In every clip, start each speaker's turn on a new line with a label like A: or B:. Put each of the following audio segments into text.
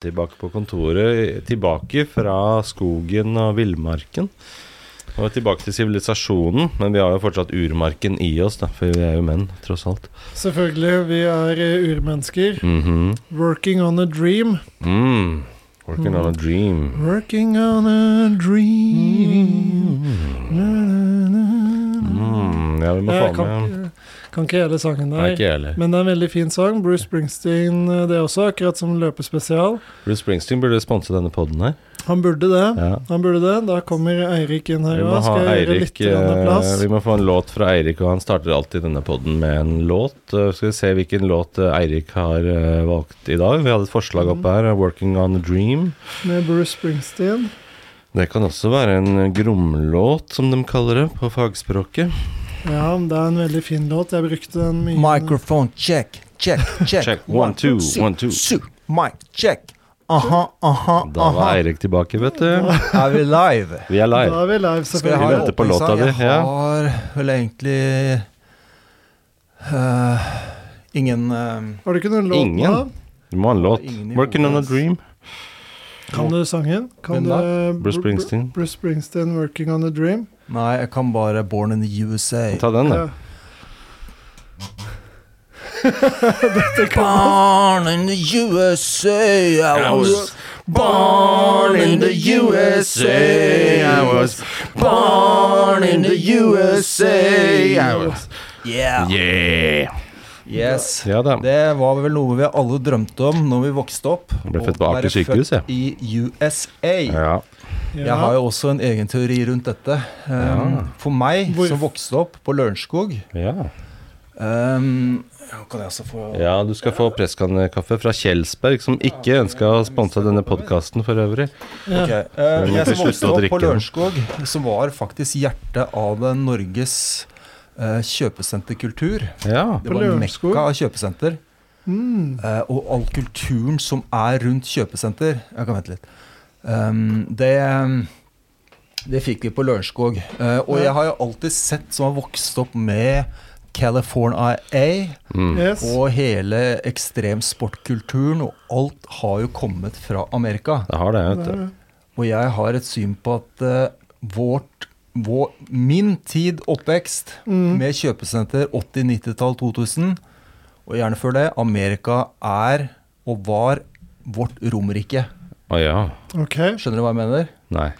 A: tilbake på kontoret, tilbake fra skogen og villmarken. Og tilbake til sivilisasjonen, men vi har jo fortsatt urmarken i oss, da, for vi er jo menn, tross alt.
B: Selvfølgelig, vi er eh, urmennesker.
A: Mhm.
B: Working on a dream.
A: mm. Working on a dream.
B: Working on a dream
A: Mm. Ja, vi må
B: Jeg
A: få
B: kan,
A: med
B: kan ikke hele sangen
A: Nei,
B: der.
A: ikke jeg heller.
B: Men det er en veldig fin sang. Bruce Springsteen eh, det også, akkurat som løpespesial.
A: Bruce Springsteen burde sponse denne podden her.
B: Han burde det.
A: Ja.
B: Han burde det. Da kommer Eirik inn her
A: Vi må,
B: òg.
A: ha
B: Skal jeg gjøre
A: Eirik,
B: litt grann plass?
A: eh, vi må få en låt fra Eirik, og han starter alltid denne podden med en låt. Eh, Skal vi se hvilken låt eh, Eirik har eh, valgt i dag. Vi hadde et forslag oppe her, eh, 'Working on a Dream'.
B: Med Bruce Springsteen.
A: Det kan også være en eh, gromlåt, som de kaller det på fagspråket.
B: Ja, det er en veldig fin låt. Jeg brukte den mye.
C: Microphone check, check, check.
A: Check, one, two,
C: su-
A: one, two.
C: su- Mic check. Aha, aha,
A: Da var
C: Ah, aha.
A: Eirik tilbake, vet du.
C: Er vi live?
A: Vi er
B: Da
A: live.
B: er vi live,
C: Skal jeg
A: Vi
C: ha
B: selvfølgelig.
C: en
A: venter på
C: åpningssang?
A: låta di,
C: Jeg
A: ja.
C: har vel egentlig eh, ingen eh,
B: Har du ikke noen låt
A: Ingen.
B: da?
A: Du må ha en låt.
C: Ingen i
A: 'Working on a
C: hodet.
A: Dream'.
B: Kan du sangen? Kan
C: Hvem
B: du,
C: da?
A: Bruce Springsteen.
B: Bruce Springsteen, 'Working on a Dream'.
C: Nei, jeg kan bare 'Born in the USA'.
A: Ta den, da.
B: Ja.
C: Born in the USA, I was born in the USA, I was born in the USA, I was Yeah.
A: Yeah!
C: Yes.
A: Ja da.
C: Det var vel noe vi alle drømte om når vi vokste opp.
A: Jeg ble
C: å
A: født på Aker
C: være
A: sykehus,
C: født I USA.
A: Ja.
B: Ja.
C: Jeg har jo også en egen teori rundt dette. Um, For meg
B: Hvor-
C: som vokste opp på Lørenskog
A: ja.
C: um, ja, Kan jeg også få
A: Ja, du skal få presskannekaffe fra Kjelsberg, som ikke ønska å sponse denne podkasten for øvrig.
C: Ok, eh,
A: må
C: jeg
A: til
C: som
A: slutt å
C: vokste opp
A: drikke
C: på
A: den.
C: Lørenskog, som var faktisk hjertet av den Norges eh, kjøpesenterkultur.
A: Ja.
C: Det
B: På
C: var en
B: Lørenskog? Mm.
C: mekka av kjøpesenter. Eh, og all kulturen som er rundt kjøpesenter Jeg kan vente litt. Um, det, det fikk vi på Lørenskog. Eh, og
B: Ja.
C: jeg har jo alltid sett, som har vokst opp med California A,
B: Yes.
C: og hele ekstremsportkulturen, og alt har jo kommet fra Amerika.
A: Det har det, vet du.
C: Og jeg har et syn på at eh, vårt, vår, min tid oppvekst
B: Mm.
C: med kjøpesenter 80-, 90-tall, 2000, og gjerne før det, Amerika er og var vårt Romerrike.
A: Å ja.
B: Ok.
C: Skjønner du hva jeg mener?
A: Nei.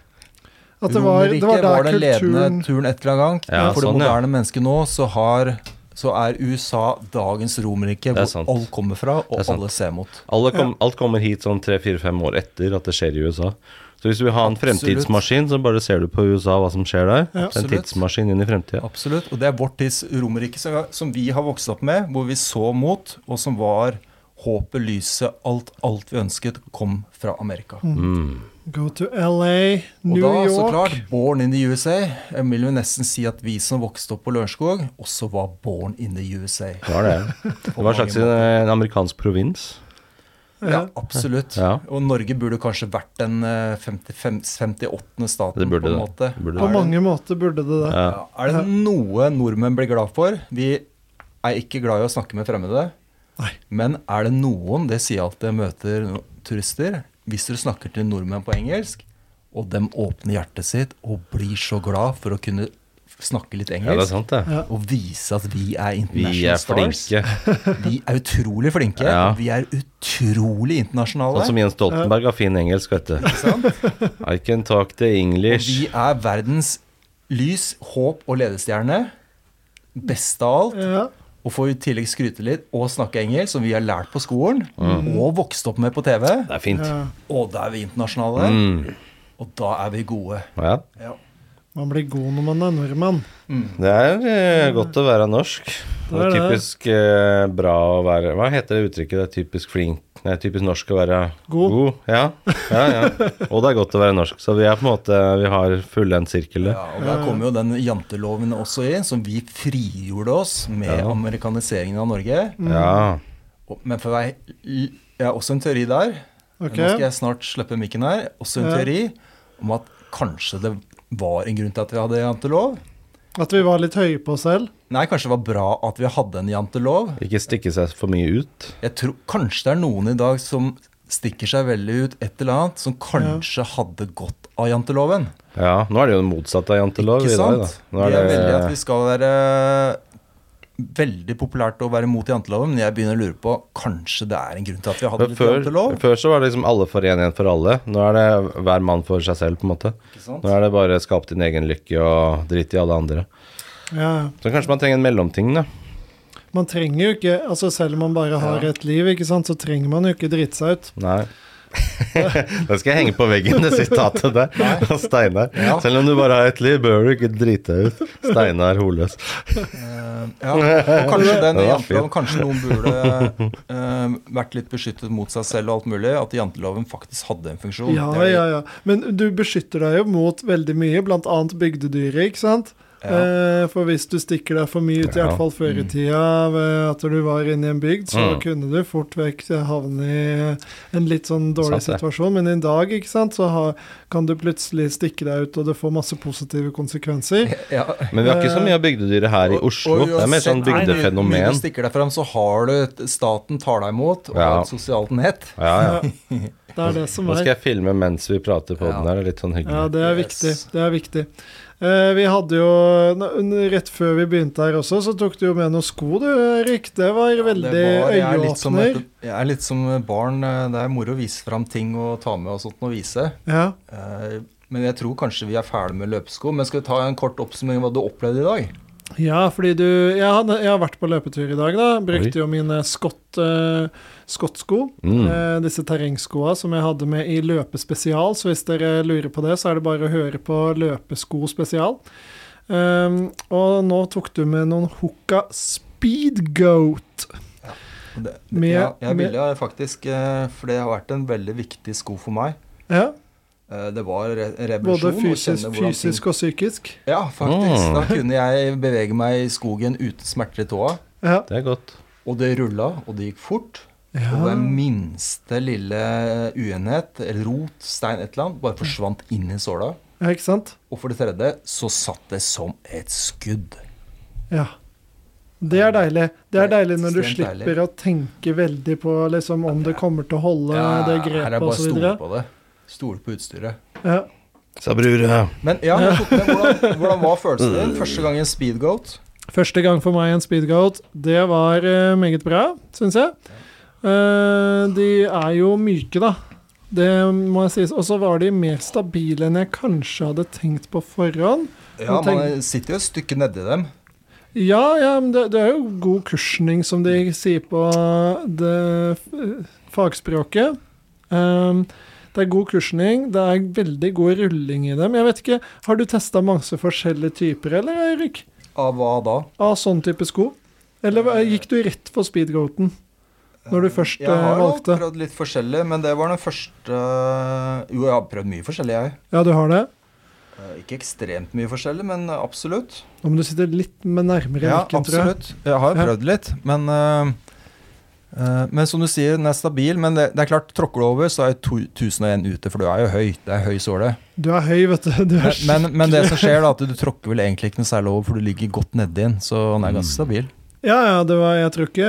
B: At det var, det var
C: Romerriket var
B: der
C: den ledende
B: kulturen
C: turen et eller annet gang.
A: Ja,
C: For det
A: sånn, ja.
C: moderne mennesket nå, så, har, så er USA dagens Romerrike,
A: Det er
C: hvor
A: sant.
C: alt kommer fra, og
A: Det er sant.
C: alle ser mot.
A: Alle kom, Alt kommer hit sånn tre-fire-fem år etter at det skjer i USA. Så hvis du vil ha en
C: Absolutt.
A: fremtidsmaskin, så bare ser du på USA hva som skjer der.
B: Ja.
A: en
C: Absolutt.
A: tidsmaskin inn i fremtida.
C: Absolutt. Og det er vårt tids Romerrike som, som vi har vokst opp med, hvor vi så mot, og som var håpet, lyset, alt, alt vi ønsket, kom fra Amerika.
A: Mm,
B: Go to LA,
C: Og
B: New
C: da, så
B: York.
C: klart, born in the USA. Jeg vil jo nesten si at vi som vokste opp på Lørenskog, også var born in the USA.
A: Det var det. Det var en slags en, en amerikansk provins.
C: Ja, absolutt.
A: Ja.
C: Og Norge burde kanskje vært den eh, 55 58. staten,
A: Det burde
C: på en
A: det.
C: måte.
A: Det burde
B: På
A: det.
B: mange måter burde det det.
A: Ja.
C: Ja, er det noe nordmenn blir glad for? Vi er ikke glad i å snakke med fremmede.
B: Nei.
C: Men er det noen, det sier jeg alltid jeg møter no- turister, hvis dere snakker til nordmenn på engelsk, og dem åpner hjertet sitt og blir så glad for å kunne snakke litt
A: ja, det er
C: engelsk,
A: sant, det.
C: og vise at vi er
A: Vi
C: international
A: er
C: stars.
A: flinke.
C: Vi er utrolig flinke.
A: Ja.
C: og Vi er utrolig internasjonale.
A: Sånn som Jens Stoltenberg har fin engelsk, vet du. I can talk the
C: Og
A: English.
C: vi er verdens lys, håp og ledestjerne. Best av alt.
B: Ja.
C: Og får i tillegg skryte litt og snakke engelsk, som vi har lært på skolen.
A: Mm.
C: Og vokst opp med på TV.
A: Det er fint.
B: ja.
C: Og da er vi internasjonale. Og da er vi gode.
A: Ja.
C: Ja.
B: Man blir god når man er nordmann.
A: Det er eh, godt å være norsk. Det er
B: Det er det.
A: typisk eh, bra å være Hva heter det uttrykket? Det er typisk flink Nei, typisk norsk å være
B: God.
A: Ja. ja, ja. Og det er godt å være norsk. Så vi er på en måte Vi har fullendt sirkel.
C: Ja, og Der kommer jo den janteloven også inn, som vi frigjorde oss med
A: Ja.
C: amerikaniseringen av Norge.
A: Ja.
C: Og- Men for å være l- Jeg har også en teori der.
B: Ok.
C: Nå skal jeg snart slippe mikken her. Også en
B: Ja.
C: teori om at kanskje det var en grunn til at vi hadde jantelov.
B: At vi var litt høye på oss selv.
C: Nei, kanskje det var bra at vi hadde en jantelov.
A: Ikke stikke seg for mye ut.
C: Jeg tror kanskje det er noen i dag som stikker seg veldig ut et eller annet som kanskje hadde godt av janteloven.
A: Ja, nå er det jo det motsatte av jantelov
C: Ikke
A: i dag, da.
C: sant?
A: Nå
C: Vi
A: er
C: er veldig at
A: det,
C: vi skal være eh, veldig populært å være mot janteloven, men jeg begynner å lure på kanskje det er en grunn til at vi hadde
A: men
C: litt
A: før,
C: jantelov.
A: før så var det liksom alle for én, én for alle. Nå er det hver mann for seg selv, på en måte.
C: Ikke sant?
A: Nå er det bare skap din egen lykke og drit i alle andre.
B: Ja.
A: Så kanskje man trenger en mellomting, da.
B: Man trenger jo ikke altså Selv om man bare har
C: Ja.
B: ett liv, ikke sant, så trenger man jo ikke drite seg ut.
A: Nei. det skal jeg henge på veggen, det sitatet der av Steinar.
C: Ja.
A: Selv om du bare har ett liv, bør du ikke drite deg ut. Steinar Holøs.
C: Eh, ja. Og kanskje den
A: Det var
C: janteloven Kanskje noen burde eh, vært litt beskyttet mot seg selv og alt mulig. At janteloven faktisk hadde en funksjon.
B: Ja,
C: Det er-
B: ja, ja. Men du beskytter deg jo mot veldig mye, bl.a. bygdedyret, ikke sant?
C: ja.
B: Eh, for hvis du stikker deg for mye ut, i
A: Ja.
B: hvert fall før i tida, ved at du var inne i en bygd, så
A: Mm.
B: kunne du fort vekk eh, havne i en litt sånn dårlig
A: Sant det.
B: situasjon. Men i dag, ikke sant, så har, kan du plutselig stikke deg ut, og det får masse positive konsekvenser.
C: ja.
A: Men vi har ikke så mye av bygdedyret her i Oslo. Det er mer sånn
C: Nei, mye du
A: bygdefenomen.
C: stikker deg fram, så har du et- Staten tar deg imot, og
A: Ja.
C: har et sosialt nett.
A: Ja, ja.
B: Det er det som
A: Nå
B: er.
A: skal jeg filme mens vi prater på
C: Ja.
A: den her. Det er litt sånn
B: Ja,
A: hyggelig.
B: det er
C: Yes.
B: viktig. Det er viktig. Eh, vi hadde jo n- n- Rett før vi begynte her også, så tok du jo med noen sko, du, Erik. Det var veldig
C: Det var- jeg er litt som et-
B: øyeåpner.
C: Jeg er litt som barn. eh, Det er moro å vise fram ting og ta med og sånt og vise.
B: Ja.
C: Eh, Men jeg tror kanskje vi er ferdig med løpesko. Men skal vi ta en kort oppsummering av hva du opplevde i dag?
B: ja, fordi du jeg har, jeg har vært på løpetur i dag, da. Brukte jo mine skott, eh, skottsko.
A: Mm.
B: Eh, disse terrengskoa som jeg hadde med i Løpespesial, så hvis dere lurer på det, så er det bare å høre på Løpesko spesial. Ehm, og nå tok du med noen Hooka Speedgoat.
C: Det,
B: Med-
C: ja, jeg
B: med-
C: ville faktisk, eh, for det har vært en veldig viktig sko for meg.
B: Ja,
C: Eh, Det var re- en
B: både
C: revolusjon. å
B: fysisk,
C: kjenne hvordan ting-
B: fysisk og psykisk.
C: Ja, faktisk.
A: Mm.
C: Da kunne jeg bevege meg i skogen uten smerter i tåa.
B: Ja.
A: Det er godt.
C: Og det rulla, og det gikk fort. Og
B: ja.
C: hver minste lille uenhet, eller rot, stein, et eller annet, bare forsvant inn i såla.
B: ja ikke sant?
C: Og for det tredje så satt det som et skudd.
B: Ja. Det er deilig. Det er deilig når du
C: Ekstremt deilig.
B: slipper å tenke veldig på liksom, om det kommer til å holde det
C: her er
B: grepet
C: bare å
B: osv.
C: stole på det. Stole på utstyret.
B: Ja.
A: Sa bror. ja.
C: Men ja, jeg tok med, hvordan, hvordan var følelsen din første gang i en speedgoat?
B: Første gang for meg i en speedgoat, det var eh, meget bra, syns jeg. Eh, de er jo myke, da. Det må jeg sies. Og så var de mer stabile enn jeg kanskje hadde tenkt på forhånd.
C: Ja,
B: Nå tenk-
C: man sitter jo et stykke nedi dem.
B: Ja, ja, men det, det er jo god kursning, som de sier på det f- fagspråket. Ehm, det er god kursning, det er veldig god rulling i dem. Jeg vet ikke, Har du testa masse forskjellige typer, eller, Eirik?
C: Av hva da?
B: Av sånn type sko? Eller hva- gikk du rett for speedgoaten når du først
C: Jeg har
B: eh,
C: jo
B: valgte?
C: prøvd litt forskjellig, men det var den første Jo, jeg har prøvd mye forskjellig, jeg.
B: Ja, du har det?
C: Eh, Ikke ekstremt mye forskjellig, men eh, absolutt.
B: Nå må du sitte litt med nærmere
C: Ja,
B: mikken, tror jeg.
C: absolutt. Jeg har jo
B: Ja.
C: prøvd litt, men eh, eh, Men som du sier, den er stabil. Men det, det er klart, tråkker du over, så er jo to- 1001 ute, for du er jo høy. Det er høy såle.
B: Du er høy, vet du. du er
C: Men, men, men det som skjer, da, at du tråkker vel egentlig ikke noe særlig over, for du ligger godt nedi den, så den er ganske stabil.
B: Ja, ja, det var, jeg tror ikke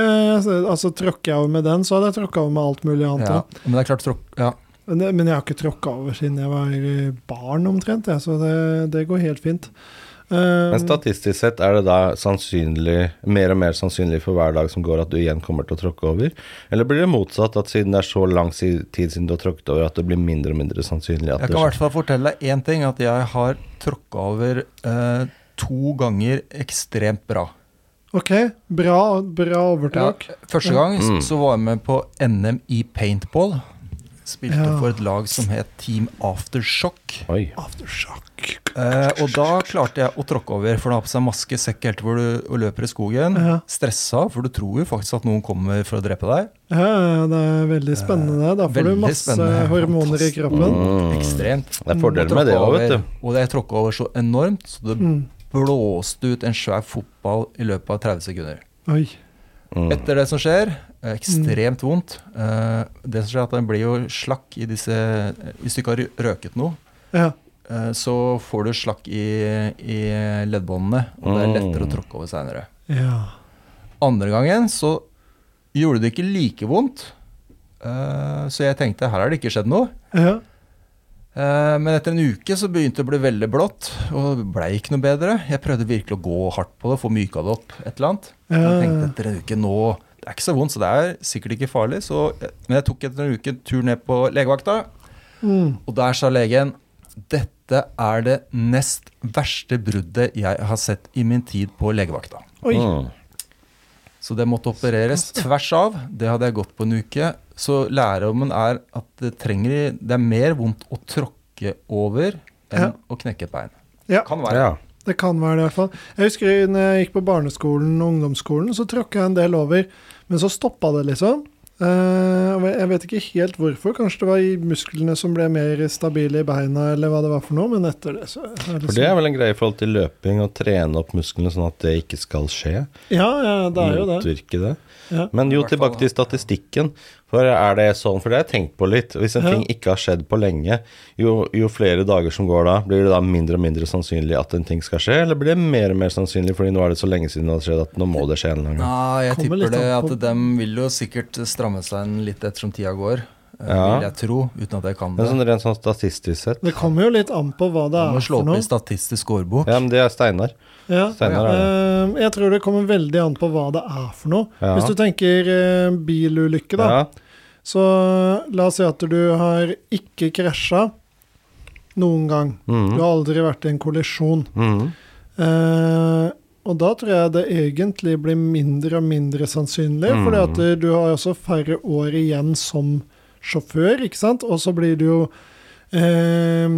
B: Altså, tråkker jeg over med den, så hadde jeg tråkka over med alt mulig annet.
C: Ja.
B: da.
C: Men det er klart, tråkk... Ja.
B: Men, det, men jeg har ikke tråkka over siden jeg var eh, barn omtrent, jeg, så det, det går helt fint. Um,
A: Men statistisk sett er det da sannsynlig, mer og mer sannsynlig for hver dag som går at du igjen kommer til å tråkke over? Eller blir det motsatt, at siden det er så lang si- tid siden du har tråkket over, at det blir mindre og mindre sannsynlig at
C: Jeg
A: det
C: kan i hvert
A: skjer?
C: fall fortelle deg én ting, at jeg har tråkka over eh, to ganger ekstremt bra.
B: ok, bra, bra overtråkk.
C: Ja, første gang s-
A: Mm.
C: så var jeg med på NM i paintball. Spilte
B: Ja.
C: for et lag som het Team Aftershock.
A: Oi.
B: Aftershock.
C: Eh, og da klarte jeg å tråkke over, for du har på seg maske, sekk helt hvor du og løper i skogen.
B: Ja.
C: Stressa, for du tror jo faktisk at noen kommer for å drepe deg.
B: Ja, ja, det er veldig spennende. det. Da får
C: Eh, veldig
B: du masse
C: spennende.
B: hormoner i
C: Fantastisk.
B: kroppen.
A: Mm.
C: Ekstremt.
A: Det er fordeler
C: Og
A: med det
C: tråkket
A: òg, vet du.
C: over- Og jeg tråkka over så enormt, så det
B: Mm.
C: blåste ut en svær fotball i løpet av 30 sekunder.
B: Oi.
A: Mm.
C: Etter det som skjer, eh, ekstremt vondt. Eh, Det som skjer er at den blir jo slakk i disse eh, Hvis du ikke har røket noe,
B: Ja.
C: eh, så får du slakk i, i leddbåndene, og det er lettere å tråkke over seinere.
B: ja.
C: Andre gangen så gjorde det ikke like vondt, Eh, så jeg tenkte her har det ikke skjedd noe.
B: Ja.
C: Eh, Men etter en uke så begynte det å bli veldig blått, og det ble ikke noe bedre. Jeg prøvde virkelig å gå hardt på det, få myka det opp et eller annet. Men
B: Ja.
C: Jeg tenkte etter en uke nå Det er ikke så vondt, så det er sikkert ikke farlig. Så, eh, men jeg tok etter en uke en tur ned på legevakta,
B: Mm.
C: og der sa legen dette er det nest verste bruddet jeg har sett i min tid på legevakta.
B: Oi.
A: Mm.
C: Så det måtte opereres tvers av. Det hadde jeg gått på en uke. Så lærdommen er at det, trenger, det er mer vondt å tråkke over
B: Ja.
C: enn å knekke et bein.
B: Ja.
C: Kan være.
A: Ja.
B: Det kan være det, i hvert fall. Jeg husker når jeg gikk på barneskolen og ungdomsskolen, så tråkka jeg en del over. Men så stoppa det, liksom. Eh, og jeg vet ikke helt hvorfor. Kanskje det var i musklene som ble mer stabile i beina, eller hva det var for noe, men etter det, liksom- så er det
A: For det er vel en greie i forhold til løping, å trene opp musklene sånn at det ikke skal skje.
B: Ja, ja, det er jo det.
A: Motvirke det.
B: Ja.
A: Men
C: I
A: jo,
C: hvert fall,
A: tilbake til statistikken. For er det sånn, for det har jeg tenkt på litt. Hvis en
B: Ja.
A: ting ikke har skjedd på lenge, jo, jo flere dager som går da, blir det da mindre og mindre sannsynlig at en ting skal skje? Eller blir det mer og mer sannsynlig, fordi nå er det så lenge siden det har skjedd at nå må det skje en eller annen gang?
C: Nei, jeg
B: Kommer litt
C: tipper det
B: an
C: at
B: på-
C: dem vil jo sikkert stramme seg inn litt ettersom tida går. eh,
A: Ja.
C: Vil jeg tro, uten at jeg kan det.
A: Men sånn rent sånn statistisk sett
B: Det kommer jo litt an på hva det
C: Man må
B: er
C: slå
B: for
C: opp i
B: noe.
C: statistisk årbok.
A: Ja, men det er Steinar.
B: Ja.
A: Steinar er det.
B: Eh, jeg tror det kommer veldig an på hva det er for noe.
A: Ja.
B: Hvis du tenker eh, bilulykke, da.
A: Ja.
B: Så la oss si at du har ikke krasja noen gang. Du
A: Mhm.
B: har aldri vært i en kollisjon.
A: Mhm.
B: Eh, og da tror jeg det egentlig blir mindre og mindre sannsynlig,
A: Mm.
B: fordi at eh, du har også færre år igjen som sjåfør, ikke sant? Og så blir du jo eh,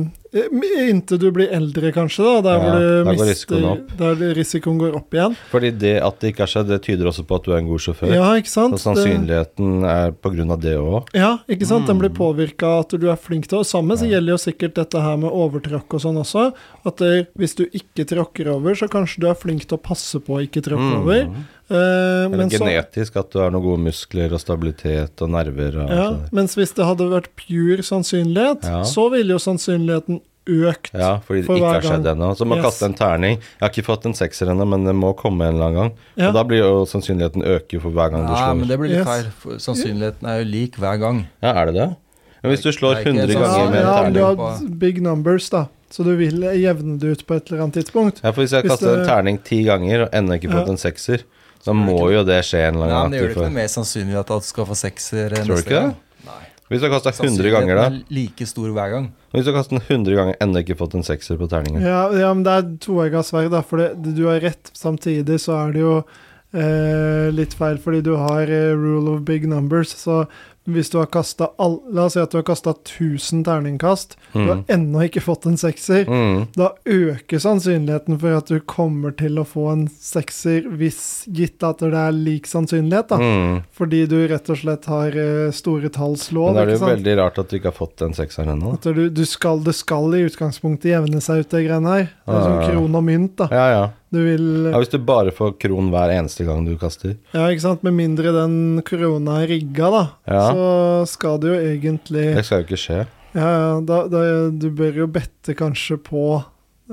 B: Inntil du blir eldre, kanskje, da. Der
A: Ja,
B: hvor du
A: der går
B: mister
A: risikoen opp.
B: Der risikoen går opp igjen.
A: Fordi det at det ikke har skjedd, det tyder også på at du er en god sjåfør.
B: Ja, eh, ikke sant?
A: Så sannsynligheten er på grunn av det òg.
B: Ja, ikke sant? Den blir
C: Mm.
B: påvirka at du er flink til å Samme så
A: Ja.
B: gjelder jo sikkert dette her med overtråkk og sånn også. At det, hvis du ikke tråkker over, så kanskje du er flink til å passe på å ikke tråkke over. Eh,
A: Mm. Eller
B: men så,
A: genetisk, at du har noen gode muskler og stabilitet og nerver og sånn.
B: ja,
A: alt det der.
B: mens hvis det hadde vært pure sannsynlighet,
A: altså. Ja.
B: så ville jo sannsynligheten økt.
A: Ja, fordi det
B: For
A: ikke
B: hver
A: har skjedd
B: gang.
A: ennå. Så man
B: Yes.
A: kaster en terning. Jeg har ikke fått en sekser ennå, men det må komme en eller annen gang.
B: Ja.
A: Og da blir jo sannsynligheten øker for hver gang du
C: Nei, men
A: slår.
C: det blir litt
B: Yes.
C: feil. for Sannsynligheten er jo lik hver gang.
A: Ja, er det det? Men hvis du slår
C: Det er ikke
A: 100
C: sånn-
A: ganger med
B: ja,
A: en
B: men du
A: terning
B: har big numbers, da. Så du vil jevne det ut på et eller annet tidspunkt.
A: Ja, for hvis jeg
B: Hvis
A: kaster en
B: det-
A: terning ti ganger og ennå ikke fått
B: Ja.
A: en sekser,
C: Så
A: da
C: gjør det
A: må
C: ikke-
A: jo det skje en
C: Nei,
A: eller
C: men
A: annen
C: det gjør det ikke
A: gang. at du
C: noe mer sannsynlig at du skal få sekser
A: du ikke
C: neste
A: det?
C: gang. Nei.
A: får- Hvis du har kasta 100 ganger, da?
C: Sannsynligheten er like stor hver gang.
A: Hvis du har kastet den 100 ganger ennå ikke fått en sekser på terningen.
B: Ja, ja, men det er toegga sverd, da. For det, du har rett. Samtidig så er det jo eh, litt feil, fordi du har eh, rule of big numbers. Så hvis du har kasta all La oss si at du har kasta 1000 terningkast. Du har
A: Mm.
B: ennå ikke fått en sekser.
A: Mm.
B: Da øker sannsynligheten for at du kommer til å få en sekser, hvis gitt at det er lik sannsynlighet, da.
A: Mm.
B: Fordi du rett og slett har eh, store talls
A: Men
B: lov,
A: da er det
B: ikke
A: jo
B: sant?
A: veldig rart at du ikke har fått den sekseren ennå. da.
B: At du, du skal, det skal i utgangspunktet jevne seg ut, det greiene her. Det er
A: Ja.
B: som kron og mynt, da.
A: Ja, ja.
B: Du vil
A: ja, hvis du bare får kron hver eneste gang du kaster.
B: Ja, ikke sant. Med mindre den korona er rigga, da,
A: Ja.
B: så skal det jo egentlig
A: Det skal jo ikke skje.
B: Ja, ja, da, da, du bør jo bette kanskje på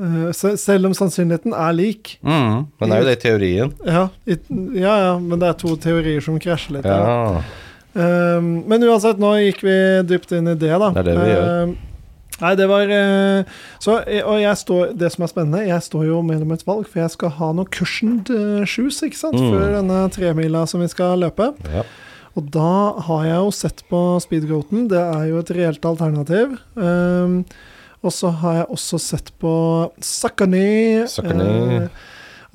B: eh, se- Selv om sannsynligheten er lik.
A: Mm. Men det er jo det i teorien.
B: Ja, i, ja, ja, men det er to teorier som krasjer litt. her, da.
A: Ja.
B: Ehm, men uansett, nå gikk vi dypt inn i det, da.
A: Det er det vi gjør.
B: Ehm, Nei, det var eh, Så, eh, og jeg står Det som er spennende, jeg står jo mellom et valg, for jeg skal ha noe cushioned eh, shoes, ikke sant,
A: Mm.
B: før denne tremila som vi skal løpe.
A: ja.
B: Og da har jeg jo sett på speedgoaten, det er jo et reelt alternativ. Ehm, og så har jeg også sett på Sakani.
A: Saucony.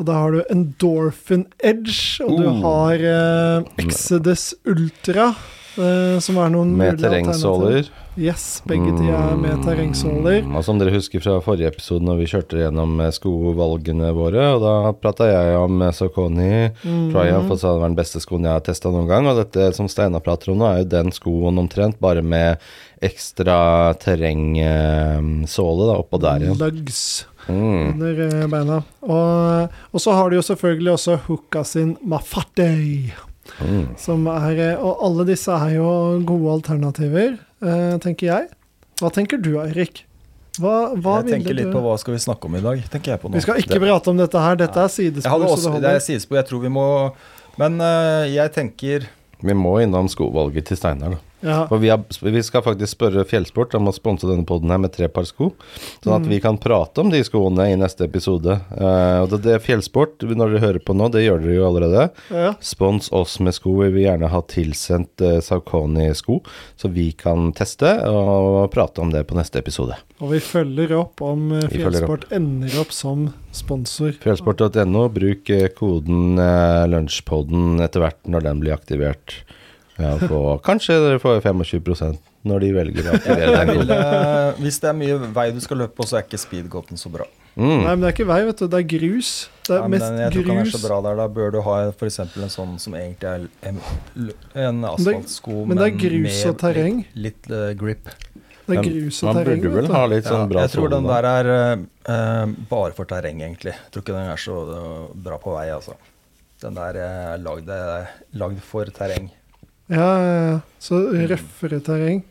B: og da har du Endorphin Edge, og du
A: Uh.
B: har eh, Exodus Ultra, eh, som er noen
A: Med
B: mulige alternativer.
A: terrengsåler.
B: Yes, begge de er med terrengsåler.
A: Mm, Og som dere husker fra forrige episode når vi kjørte gjennom eh, skovalgene våre, og da prata jeg om eh, Saucony
B: Mm.
A: Triumph, og sa det var den beste skoen jeg har testa noen gang. Og dette som Steinar prater om nå, er jo den skoen omtrent, bare med ekstra terrengsåle da, oppå der igjen.
B: Lugs.
A: Mm.
B: under eh, beina. Og, og så har du jo selvfølgelig også Hooka sin Mafatei,
A: Mm.
B: som er eh, Og alle disse er jo gode alternativer, eh, tenker jeg. Hva tenker du, Eirik? Hva, hva
C: jeg tenker
B: ville
C: litt
B: du
C: på hva skal vi snakke om i dag, tenker jeg på nå.
B: Vi skal ikke
A: Det-
B: prate om dette her, dette er
C: Jeg hadde
B: sidespor, så
C: også,
B: det
C: det er
B: holder.
C: sidespor, jeg tror vi må Men eh, jeg tenker
A: Vi må innom skovalget til Steinar, da.
B: Ja.
A: For vi, har, vi skal faktisk spørre Fjellsport om å sponse denne poden her med tre par sko. Sånn at vi kan prate om de skoene i neste episode. Eh, og det, det er Fjellsport, når dere hører på nå, det gjør dere jo allerede.
B: Ja.
A: Spons oss med sko. Vi vil gjerne ha tilsendt uh, Saucony-sko, så vi kan teste og prate om det på neste episode.
B: Og vi følger opp om eh,
A: Vi følger
B: Fjellsport ender opp som sponsor.
A: Fjellsport.no. Bruk eh, koden eh, lunsjpodden etter hvert når den blir aktivert. Ja, på, kanskje dere får 25 når de velger å aktivere den koden.
C: eh,
D: hvis det er mye vei du skal løpe på, så er ikke speedgoten så bra.
A: Mm.
B: Nei, men det er ikke vei, vet du. Det er grus. Det er
D: Nei, men
B: mest
D: jeg tror ikke den er
B: grus.
D: så bra der. Da bør du ha f.eks. en sånn som egentlig er en, en asfaltsko,
B: men det er grus og terreng.
D: Litt, litt eh, grip.
B: Det er
A: Men
B: grus og
A: Man
B: terreng.
A: burde vel
B: vet du.
A: ha litt sånn bra
D: jeg tror den
A: sone, da.
D: der er eh, eh, bare for terreng, egentlig. Jeg tror ikke den er så eh, bra på vei, altså. Den der eh, er lagd, eh, lagd for terreng.
B: Ja, ja, ja. Så røffere terreng.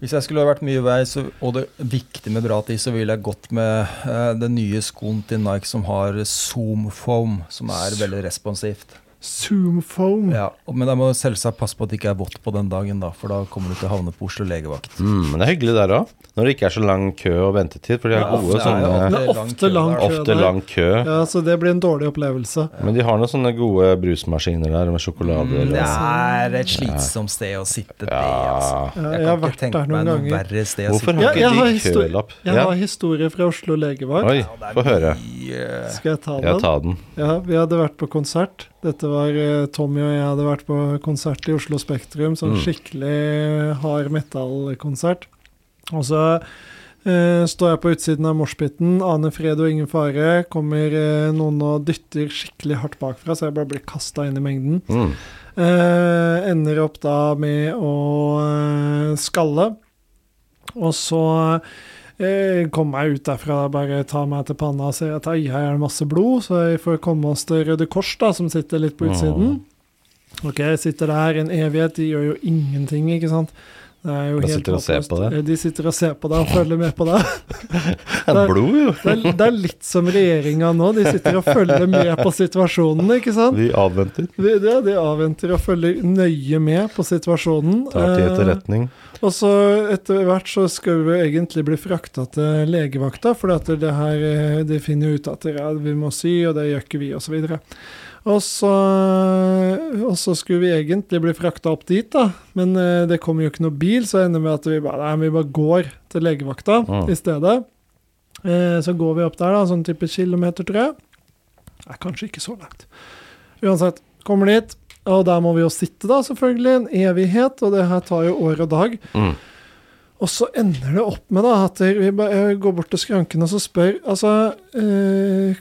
D: Hvis jeg skulle ha vært mye vei, så, og det er viktig med bra tid, så ville jeg gått med eh, den nye skoen til Nike som har Zoom Foam, som er veldig responsivt.
B: Zoom foam.
D: Ja, og- Men jeg må selvsagt passe på at det ikke er vått på den dagen, da, for da kommer du til å havne på Oslo legevakt.
A: Mm, men det er hyggelig der òg. Når det ikke er så lang kø og ventetid, for de har
D: Ja,
A: gode
D: det er jo
A: sånne
B: Det er ofte lang kø
A: Ofte
B: der.
A: lang kø.
B: Ja, så det blir en dårlig opplevelse.
A: Men de har noen sånne gode brusmaskiner der med sjokolader
D: Mm,
A: og
D: Det
A: altså.
D: er et slitsomt sted å sitte, det, altså.
B: Ja,
D: Jeg
B: jeg har
D: kan
B: vært
D: ikke
B: der
D: tenke
B: noen
D: meg noe
B: ganger.
D: verre sted å
A: Hvorfor
D: sitte.
B: Ja,
A: har
B: jeg har
A: ikke de
B: histori-
A: kølapp?
B: Jeg
A: Ja.
B: har historie fra Oslo legevakt.
A: Oi, få høre.
D: Yeah.
B: Skal jeg ta
A: Ja,
B: den?
A: ta den.
B: Ja, vi hadde vært på konsert. Dette var eh, Tommy og jeg hadde vært på konsert i Oslo Spektrum. Sånn
A: Mm.
B: skikkelig hard metallkonsert. Og så eh, står jeg på utsiden av moshpiten. Aner fred og ingen fare. Kommer eh, noen og dytter skikkelig hardt bakfra, så jeg bare blir kasta inn i mengden.
A: Mm.
B: Eh, ender opp da med å eh, skalle. Og så eh, kommer jeg ut derfra, bare tar meg til panna og ser at «Ai, her er det masse blod, så vi får komme oss til Røde Kors, da, som sitter litt på utsiden. Ok, sitter der en evighet, de gjør jo ingenting, ikke sant. Det er jo
A: De
B: helt
A: sitter og ser
B: håpløst.
A: på det.
B: Eh, De sitter og ser på deg og følger med på deg.
A: Det er blod, jo.
B: Det er, det er litt som regjeringa nå, de sitter og følger med på situasjonen, ikke sant.
A: Vi avventer.
B: Det, det, de avventer og følger nøye med på situasjonen.
A: Tar til etterretning.
B: Eh, og så etter hvert så skal vi egentlig bli frakta til legevakta, for at det her, eh, de finner jo ut at ja, vi må sy, og det gjør ikke vi, osv. Og så, og så skulle vi egentlig bli frakta opp dit, da. Men eh, det kommer jo ikke noe bil, så ender det med at vi bare, nei, vi bare går til legevakta
A: Mm.
B: i stedet. Eh, så går vi opp der, da, sånn type kilometer, tror jeg. Nei, kanskje ikke så langt. Uansett, kommer dit, og der må vi jo sitte, da, selvfølgelig. En evighet, og det her tar jo år og dag.
A: Mm.
B: Og så ender det opp med da, at vi ba- eh, går bort til skranken og så spør altså, eh,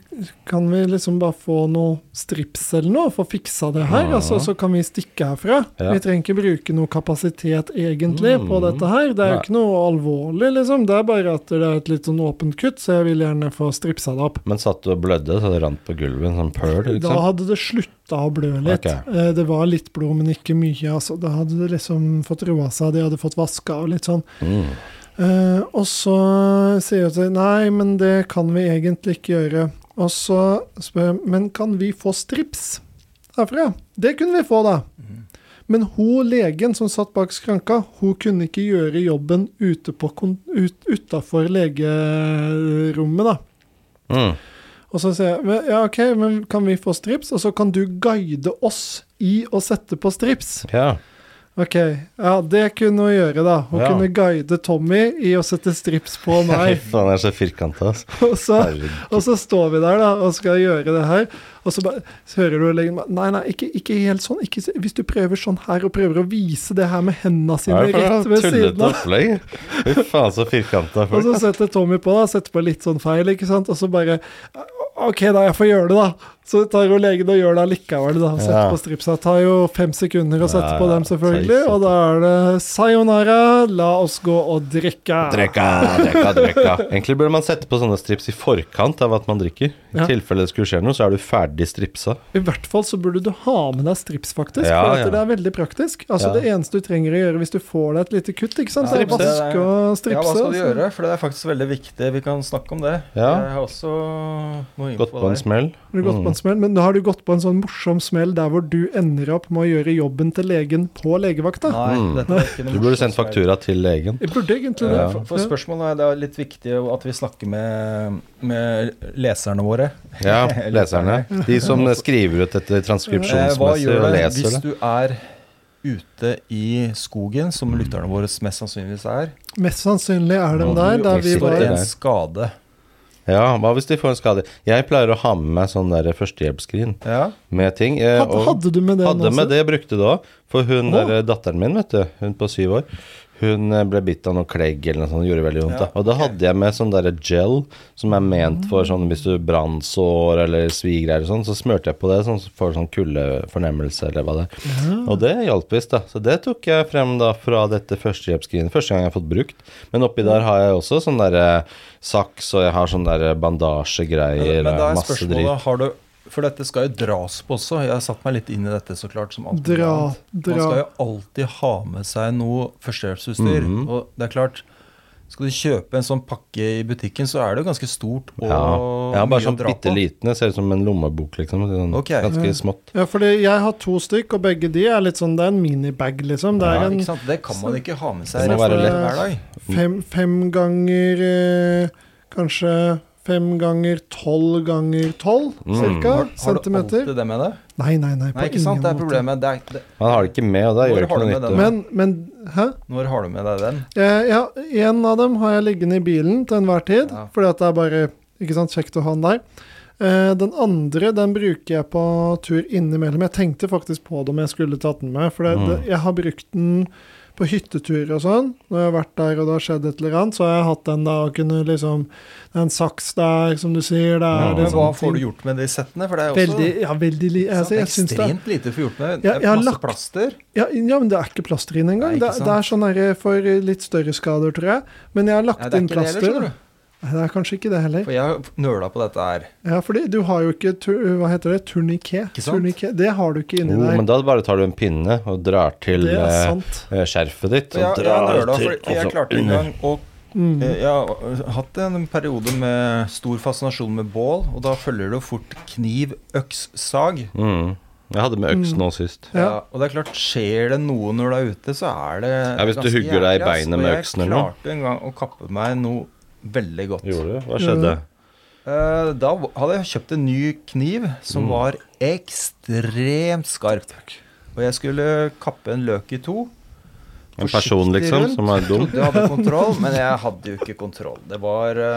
B: Kan vi liksom bare få noe strips eller noe for å fiksa det her?
A: Ja.
B: Altså, så kan vi stikke herfra.
A: Ja.
B: Vi trenger ikke bruke noe kapasitet egentlig på
A: Mm.
B: dette her. Det er jo
D: Nei.
B: ikke noe alvorlig, liksom. Det er bare at det er et litt sånn åpent kutt, så jeg vil gjerne få stripsa det opp.
A: Men satt du og blødde, så det rant på gulvet, en sånn pøl,
B: Da
A: liksom?
B: hadde det slutta å blø litt.
A: Ok.
B: Eh, Det var litt blod, men ikke mye. Altså. Da hadde det liksom fått roa seg, de hadde fått vaska og litt sånn.
A: Mm.
B: Eh, og så sier hun til Nei, men det kan vi egentlig ikke gjøre. Og så spør jeg Men kan vi få strips herfra? Det kunne vi få, da. Men hun legen som satt bak skranka, hun kunne ikke gjøre jobben ute på kon- ut, utafor legerommet, da.
A: Mm.
B: Og så sier jeg «Men- ja, OK, men kan vi få strips? Og så kan du guide oss i å sette på strips.
A: Ja.
B: Ok, ja, det kunne hun gjøre, da. Hun
A: Ja.
B: kunne guide Tommy i å sette strips på
A: Fy
B: meg.
A: faen, jeg er så firkanta, altså.
B: og, så,
A: Herregud.
B: og så står vi der da og skal gjøre det her, og så, bare, så hører du legen bare, Nei, nei, ikke, ikke helt sånn. Ikke, så- hvis du prøver sånn her og prøver å vise det her med hendene
A: Hva
B: sine
A: er det
B: rett
A: for
B: ved
A: et
B: siden
A: tullete
B: av
A: opplegg? Fy faen, så firkanta
B: Og
A: folk.
B: så setter Tommy på, da, setter på litt sånn feil, ikke sant, og så bare OK, da, jeg får gjøre det, da. Så tar jo legen og gjør det allikevel, da. Setter
A: Ja.
B: på stripsa. Tar jo fem sekunder å sette
A: Ja,
B: på
A: ja,
B: dem, selvfølgelig.
A: tøys,
B: Og da er det sayonara, la oss gå og drikke.
A: Drekka, drekka, drekka. Egentlig burde man sette på sånne strips i forkant av at man drikker. I
B: Ja.
A: tilfelle det skulle skje noe, så er du ferdig stripsa.
B: I hvert fall så burde du ha med deg strips, faktisk.
A: Ja,
B: for at
A: ja.
B: det er veldig praktisk.
A: Ja.
B: Altså Det eneste du trenger å gjøre hvis du får deg et lite kutt, ikke sant?
D: Ja,
B: det er
D: stripse, det
B: vaske
D: er-
B: og stripse.
D: Ja, hva skal du
B: altså.
D: gjøre? For det er faktisk veldig viktig. Vi kan snakke om det.
A: Ja.
D: Jeg har også noe info
A: Gått på en
D: der.
A: smell.
B: Har du gått på
A: Mm.
B: en smell, men da har du gått på en sånn morsom smell der hvor du ender opp med å gjøre jobben til legen på legevakta.
E: Nei,
A: Mm.
E: dette er ikke noe
A: Du burde sendt
E: morsomt feil.
A: faktura til legen.
B: Jeg burde egentlig det.
E: Ja, for, for spørsmålet er det er litt viktig at vi snakker med, med leserne våre.
A: Ja, leserne. De som skriver ut dette
E: Eh, Hva
A: transkripsjonsmessig
E: gjør
A: og
E: det
A: leser
E: hvis
A: det.
E: du
C: Er ute i skogen, som lytterne våre mest sannsynligvis er,
B: Ja. Mest sannsynlig er den
A: Nå,
B: der,
A: du
B: der vi
A: også
B: var
A: det
C: får en
A: der.
C: skade.
A: Ja, hva hvis de får en skade? Jeg pleier å ha med meg sånn der førstehjelpsskrin
C: Ja.
A: med ting. eh,
B: Hadde,
A: og-
B: hadde du med det
A: Hadde med det, brukte det òg. For hun
B: Å.
A: der, eh, datteren min, vet du, hun på syv år, hun eh, ble bitt av noe klegg eller noe sånt, gjorde veldig vondt. da. Og da hadde jeg med sånn derre gel som er ment for sånn hvis du brannsår eller svigreier og sånn, så smurte jeg på det sånn så får du sånn kuldefornemmelse eller hva det er. Og det hjalp visst, da. Så det tok jeg frem da fra dette førstehjelpsskrinet. Første gang jeg har fått brukt. Men oppi der har jeg også sånn derre saks, og jeg har sånn derre bandasjegreier,
C: Men da
A: og
C: er
A: masse dritt.
C: spørsmålet har du, For dette skal jo dras på også. Jeg har satt meg litt inn i dette, så klart. som alt
B: Dra,
C: mulig annet. Man
B: dra.
C: skal jo alltid ha med seg noe førstehjelpsutstyr.
A: Mhm.
C: Og det er klart Skal du kjøpe en sånn pakke i butikken, så er det jo ganske stort og
A: Ja. ja,
C: mye
A: bare
C: å
A: sånn
C: dra på.
A: bitte liten. Det ser ut som en lommebok, liksom. Sånn,
C: Ok.
A: Ganske
B: Mm.
A: smått.
B: Ja, fordi jeg har to stykk, og begge de er litt sånn Det er en minibag, liksom. Det
C: Ja,
B: er
C: ikke
B: en
C: sant? Det kan man ikke ha med seg
A: Det må
C: resten
A: være
C: av
B: lett.
C: hver dag.
B: fem, fem ganger eh, Kanskje fem ganger tolv ganger tolv,
A: Mm.
B: cirka.
C: Har du
B: centimeter.
C: alltid det med deg?
B: Nei, nei, nei. På
C: Nei, ikke sant? Det
B: ingen
C: er
B: måte.
C: problemet. Det er, det,
A: Han har det ikke med, og da
C: Hvor
A: gjør det
C: har
A: ikke
C: du
A: noe
C: med
A: nytte.
C: den, da?
B: Men, men Hæ?
C: når har du med deg den?
B: Eh, ja, en av dem har jeg liggende i bilen til enhver tid,
C: Ja.
B: fordi at det er bare ikke sant, kjekt å ha den der. Eh, den andre den bruker jeg på tur innimellom. Jeg tenkte faktisk på det om jeg skulle tatt den med, for
C: Mm.
B: det, det, jeg har brukt den på hytteturer og sånn. Når jeg har vært der og det har skjedd et eller annet, så har jeg hatt den da og kunne liksom Det er en saks der, som du sier. Det er
A: Ja,
B: det
C: Men
B: er
C: hva
B: sånne
C: Altså, får du
B: ting.
C: gjort med de settene? For det er jo også
B: Veldig, ja, veldig li...
C: ikke
B: Altså,
C: sant,
B: jeg syns det er
C: ekstremt lite for gjort med.
B: Ja, jeg har
C: Masse
B: lagt-
C: plaster.
B: ja, ja, men det er ikke plaster inn engang.
C: Nei, ikke
B: Det, det er sånn her for litt større skader, tror jeg. Men jeg har lagt
C: Nei, det er
B: inn
C: ikke det heller,
B: plaster.
C: skjønner
B: da.
C: du.
B: Nei, det er kanskje ikke det heller.
C: For jeg har nøla på dette her.
B: Ja, fordi du har jo ikke tu hva heter det, turniké.
C: Ikke sant?
B: Turniké, Det har du ikke inni
A: Jo, Oh, men
B: der.
A: da bare tar du en pinne og drar til
B: Det er
A: eh,
B: sant.
A: eh, skjerfet ditt.
C: For jeg,
A: Og
C: jeg, har
A: drar
C: nøla,
A: til, altså,
C: for
A: og
C: jeg
A: så
C: klarte en
A: under.
C: gang å eh,
B: Mm.
A: eh.
C: Jeg har hatt en periode med stor fascinasjon med bål, og da følger det jo fort kniv, øks, sag.
A: Mm. Jeg hadde med øks
B: Mm.
A: nå sist.
B: Ja.
C: Ja, og det er klart, skjer det noe når du er ute, så er det
A: Ja, hvis du
C: ganske
A: hugger deg i
C: jævlig, ass.
A: beinet
C: Og
A: med øksen eller noe.
C: Jeg klarte en gang å kappe meg noe veldig godt.
A: Gjorde du? Hva
B: Gjorde
A: skjedde?
B: det.
C: Eh, da v- hadde jeg kjøpt en ny kniv som
A: Mm.
C: var ekstremt skarp. Og jeg skulle kappe en løk i to.
A: En person,
C: Forsiktig
A: liksom,
C: rundt.
A: som er dum?
C: Trodde jeg hadde kontroll, men jeg hadde jo ikke kontroll. Det var det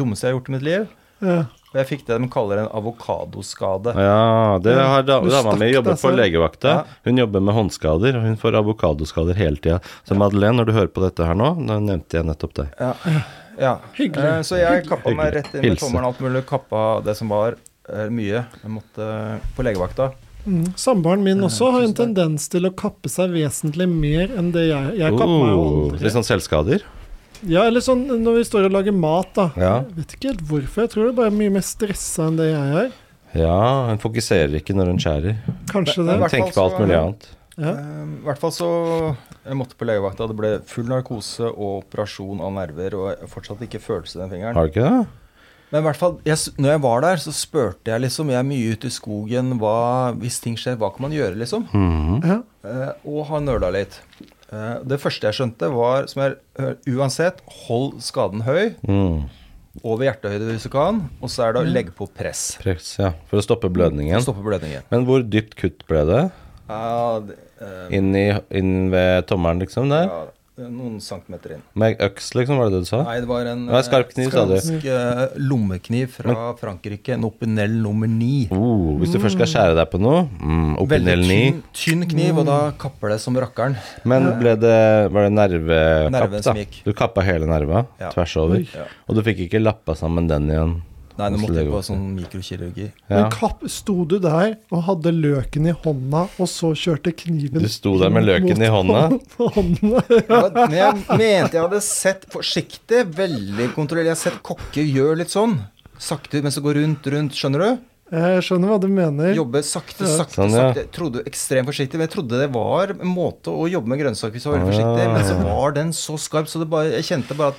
C: dummeste jeg har gjort i mitt liv.
B: Ja.
C: Og jeg fikk det de kaller en avokadoskade.
A: Ja, det har da,
B: Du
A: dama mi
B: stakk
A: jobber
B: deg
A: på
B: selv.
A: legevakta.
C: Ja.
A: Hun jobber med håndskader, og hun får avokadoskader hele tida. Så Madeleine, når du hører på dette her nå, nå nevnte jeg nettopp deg.
C: Ja. ja.
B: Hyggelig.
C: Eh, Så jeg kappa meg
A: Hyggelig.
C: rett inn med
A: Hilse.
C: tommelen og alt mulig. Kappa det som var eh, mye. Jeg måtte på legevakta.
B: Mm. Samboeren
A: Eh,
B: min også har en
C: tusen takk.
B: tendens til å kappe seg vesentlig mer enn det jeg Jeg kapper meg jo
A: Oh,
B: aldri.
A: litt sånn selvskader?
B: Ja, eller sånn når vi står og lager mat, da.
A: Ja.
B: Jeg vet ikke helt hvorfor. Jeg tror det er bare mye mer stressa enn det jeg er.
A: Ja, hun fokuserer ikke når hun skjærer.
B: Kanskje det.
C: Men-
A: Hun
C: hvert
A: tenker på
C: fall
A: alt
C: så-
A: mulig annet.
B: Ja.
C: Eh, I hvert fall så jeg måtte på legevakta. Det ble full narkose og operasjon av nerver. Og jeg fortsatt ikke følelse i den fingeren.
A: Har du ikke det?
C: Men i hvert fall, jeg, s- når jeg var der, så spurte jeg liksom Jeg er mye ute i skogen. Hva, hvis ting skjer, hva kan man gjøre, liksom?
A: Mhm.
B: Ja.
C: Eh, og har nøla litt. Eh, det første jeg skjønte, var som jeg, eh, uansett, hold skaden høy.
A: Mm.
C: Over hjertehøyde hvis du kan. Og så er det å legge på press.
A: Press, ja. For å stoppe blødningen.
C: Stoppe blødningen.
A: Men hvor dypt kutt ble det?
C: Ja, det, eh,
A: Inn, i, inn ved tommelen, liksom? der?
C: ja, noen centimeter inn.
A: Med øks, liksom, var det det du sa?
C: Nei, det var en
A: Det var en skarp kniv, sa du.
C: skansk, eh, lommekniv fra Frankrike. En Opinel nummer ni.
A: Oh, hvis du først skal skjære deg på noe mm, Opp i del
C: Veldig
A: ni. Mm.
C: tynn, tynn kniv, og da kapper det som rakkeren.
A: Men ble det, var det nervekapp,
C: Nerven
A: da?
C: som gikk.
A: Du kappa hele nerva
C: Ja.
A: tvers over.
C: Ja.
A: Og du fikk ikke lappa sammen den igjen?
C: Nei, det
A: hos
C: måtte ikke
A: legevakten.
C: være sånn mikrokirurgi.
A: ja.
B: Men kapp, sto du der og hadde løken i hånda, og så kjørte kniven
A: Du sto der med løken
B: mot
A: i hånda?
B: hånda?
C: Ja, Men jeg mente jeg hadde sett forsiktig, veldig kontrollert. Jeg har sett kokker gjøre litt sånn. Sakte, men så går rundt, rundt. Skjønner du?
B: Jeg skjønner hva du mener.
C: Jobbe sakte,
B: Ja.
C: sakte,
A: Sånn, ja.
C: sakte. Jeg trodde ekstremt forsiktig, men jeg trodde det var en måte å jobbe med grønnsaker
A: Ah.
C: hvis du var veldig forsiktig. Men så var den så skarp, så det bare, jeg kjente bare at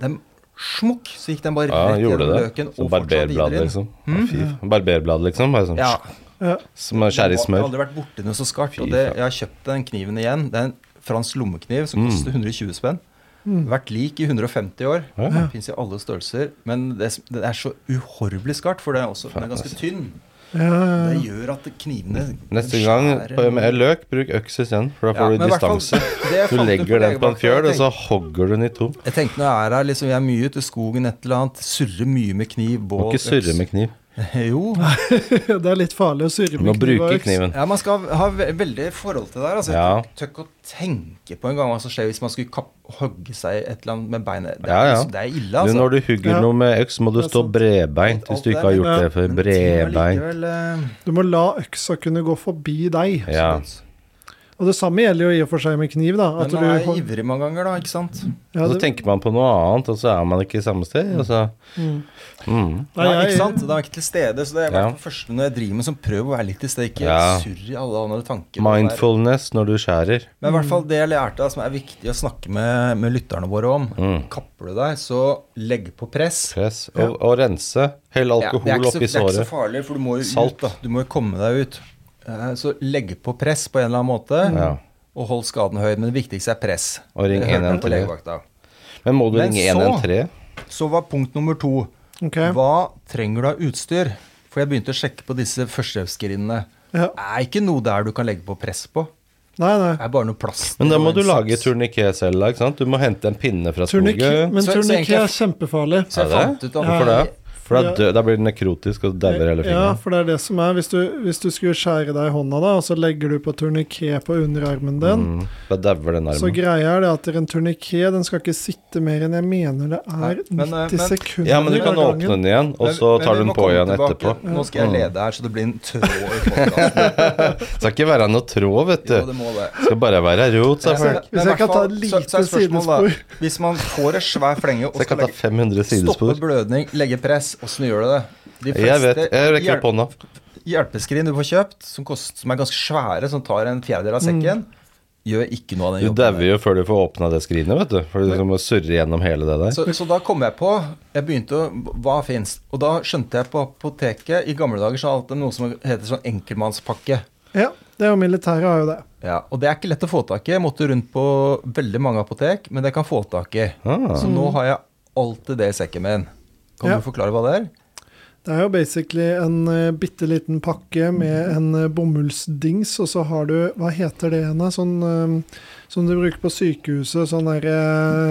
C: den smukk, så gikk den bare
A: Ja,
C: rett
A: gjorde
C: gjennom
A: det.
C: løken
A: Som
C: og fortsatt
A: barberblad,
C: videre inn.
A: liksom. Ja, Fy. Barberblad, liksom. Bare sånn
C: Ja,
B: Ja.
A: Som å skjære i
C: Jeg har
A: smør.
C: aldri vært borti noe så skarpt.
A: Fy
C: Og det,
A: faen.
C: jeg har kjøpt den kniven igjen. Det er en fransk lommekniv som
A: Mm.
C: koster 120 spenn.
B: Mm.
C: Vært lik i 150 år.
A: Ja.
C: Den Fins i alle størrelser. Men det, s- det er så uhorvelig skarpt, for det er også,
A: Faen,
C: den er ganske
A: altså.
C: tynn.
B: Ja,
C: Det
B: ja.
C: gjør at knivene
A: Neste gang på- med løk, bruk øks isteden, for da får du distanse. Du legger den på en fjøl, og så hogger du den i to.
C: Jeg tenkte når jeg er her, liksom, jeg er mye ute i skogen, et eller annet. Surrer mye med kniv,
A: Må
C: bål
A: ikke surre
C: øks.
A: med kniv.
C: Jo.
B: Det er litt farlig å surre
A: Du må
B: med kniv og
A: bruke
B: øks.
A: kniven.
C: Ja, man skal ha ve veldig forhold til det her. Altså,
A: Ja.
C: Jeg tør tør ikke å tenke på en gang hva som skjer hvis man skulle kapp, hogge seg et eller annet med beinet. Det er,
A: Ja, ja.
C: liksom- det er ille,
A: Du,
C: altså.
A: når du hugger
B: Ja.
A: noe med øks, må du
B: Det er
A: stå
B: sant.
A: bredbeint hvis du ikke har gjort
B: Ja.
A: altså, det før.
C: Men ting er
A: Bredbeint.
C: likevel, eh,
B: Du må la øksa kunne gå forbi deg.
A: Ja.
C: absolutt.
B: Og det samme gjelder jo i og for seg med kniv, da.
C: Men
B: At
C: man er
B: du,
C: ivrig mange ganger, da, ikke sant?
B: ja,
A: Og så
B: det-
A: tenker man på noe annet, og så er man ikke i samme sted. Og så,
B: Mm.
A: mm.
B: Nei,
C: ja, ikke
B: jeg-
C: sant? Da er jeg ikke til stede. Så det er i
A: Ja.
C: hvert fall første når jeg driver med, som prøver å være litt til stede. Ikke
A: Ja.
C: surr i alle andre tanker. og være-
A: Mindfulness når du skjærer.
C: Men i hvert fall det jeg lærte, som er viktig å snakke med, med lytterne våre om
A: Mm.
C: Kapper du deg, så legg på press.
A: Press. Og, og rense. Hell
C: Ja, det
A: alkohol
C: er ikke så-
A: oppi
C: Det er ikke
A: såret.
C: så farlig, for du må jo
A: Salt.
C: ut. Da. Du må jo komme deg ut. Eh, Så legg på press på en eller annen måte,
A: Ja.
C: og hold skaden høy. Men det viktigste er press.
A: Og ring
C: Det hørte jeg på
A: 113.
C: legevakta.
A: Men må du
C: Men
A: ringe
C: så-
A: 113?
C: Så var punkt nummer to.
B: Ok.
C: Hva trenger du av utstyr? For jeg begynte å sjekke på disse førstehjelpsskrinnene.
B: Ja.
C: Det er ikke noe der du kan legge på press på.
B: Nei, nei.
C: Det er bare noe plast.
A: Men da må
C: og
A: du
C: en
A: lage
C: saks.
A: turniké selv, da. ikke sant? Du må hente en pinne fra
B: Turnik,
A: skogen.
B: men
C: Så- så
B: turniké er
C: egentlig-
B: kjempefarlig.
C: Så jeg
A: Er det?
C: fant ut at
A: Hvorfor det? For da, dø, da blir den nekrotisk og dauer hele
B: Ja,
A: fingeren.
B: for det er det som er. Hvis du, hvis du skulle skjære deg i hånda, da, og så legger du på turniké på underarmen din,
A: Mm. Da dauer den
B: så
A: armen.
B: greia er det at en turniké den skal ikke sitte mer enn jeg mener det
C: Nei,
B: er
C: men, eh,
B: 90
C: men-
B: sekunder
A: Ja, men du kan
B: av
A: åpne den igjen, og
C: Men-
A: så
C: men
A: tar du
C: vi
A: den
C: må
A: på
C: komme
A: igjen
C: tilbake.
A: etterpå. Mm.
C: Nå skal jeg lede her, så det blir en tråd i podkasten.
A: Det skal ikke være noe tråd, vet
C: Jo,
A: du.
C: det må det.
A: Det skal bare være rot, sa
C: Ja,
A: folk.
C: men
B: Hvis
C: i
B: jeg kan
C: hvert
B: ta
C: fall,
B: et
C: så-
B: lite
C: så er spørsmålet da,
B: sidespor.
C: Hvis man får et svær flenge og
A: Så jeg
C: skal
A: kan ta
C: legge,
A: 500
C: stoppe
A: sidespor.
C: blødning, legge press, åssen gjør du det? De
A: Jeg vet, jeg rekker
C: hjelp,
A: opp hånda.
C: hjelpeskrin du får kjøpt, som, kost, som er ganske svære, som tar en fjerdedel av
B: Mm.
C: sekken, gjør ikke noe av den
A: Du
C: jobben.
A: dauer jo før du får åpna det skrinet, vet du. For du må surre gjennom hele det der.
C: Så, så da kom jeg på Jeg begynte å Hva fins? Og da skjønte jeg på apoteket I gamle dager så har det noe som heter sånn enkeltmannspakke.
B: Ja, det er jo militæret har jo det.
C: Ja, og det er ikke lett å få tak i. Jeg måtte rundt på veldig mange apotek, men det kan få tak i.
A: Ah.
C: Så nå har jeg alltid det i sekken min. Kan
B: Ja.
C: du forklare hva det er?
B: Det er jo basically en uh, bitte liten pakke med en eh, bomullsdings, og så har du Hva heter det igjen? da? Sånn eh, som du bruker på sykehuset. Sånn eh, derre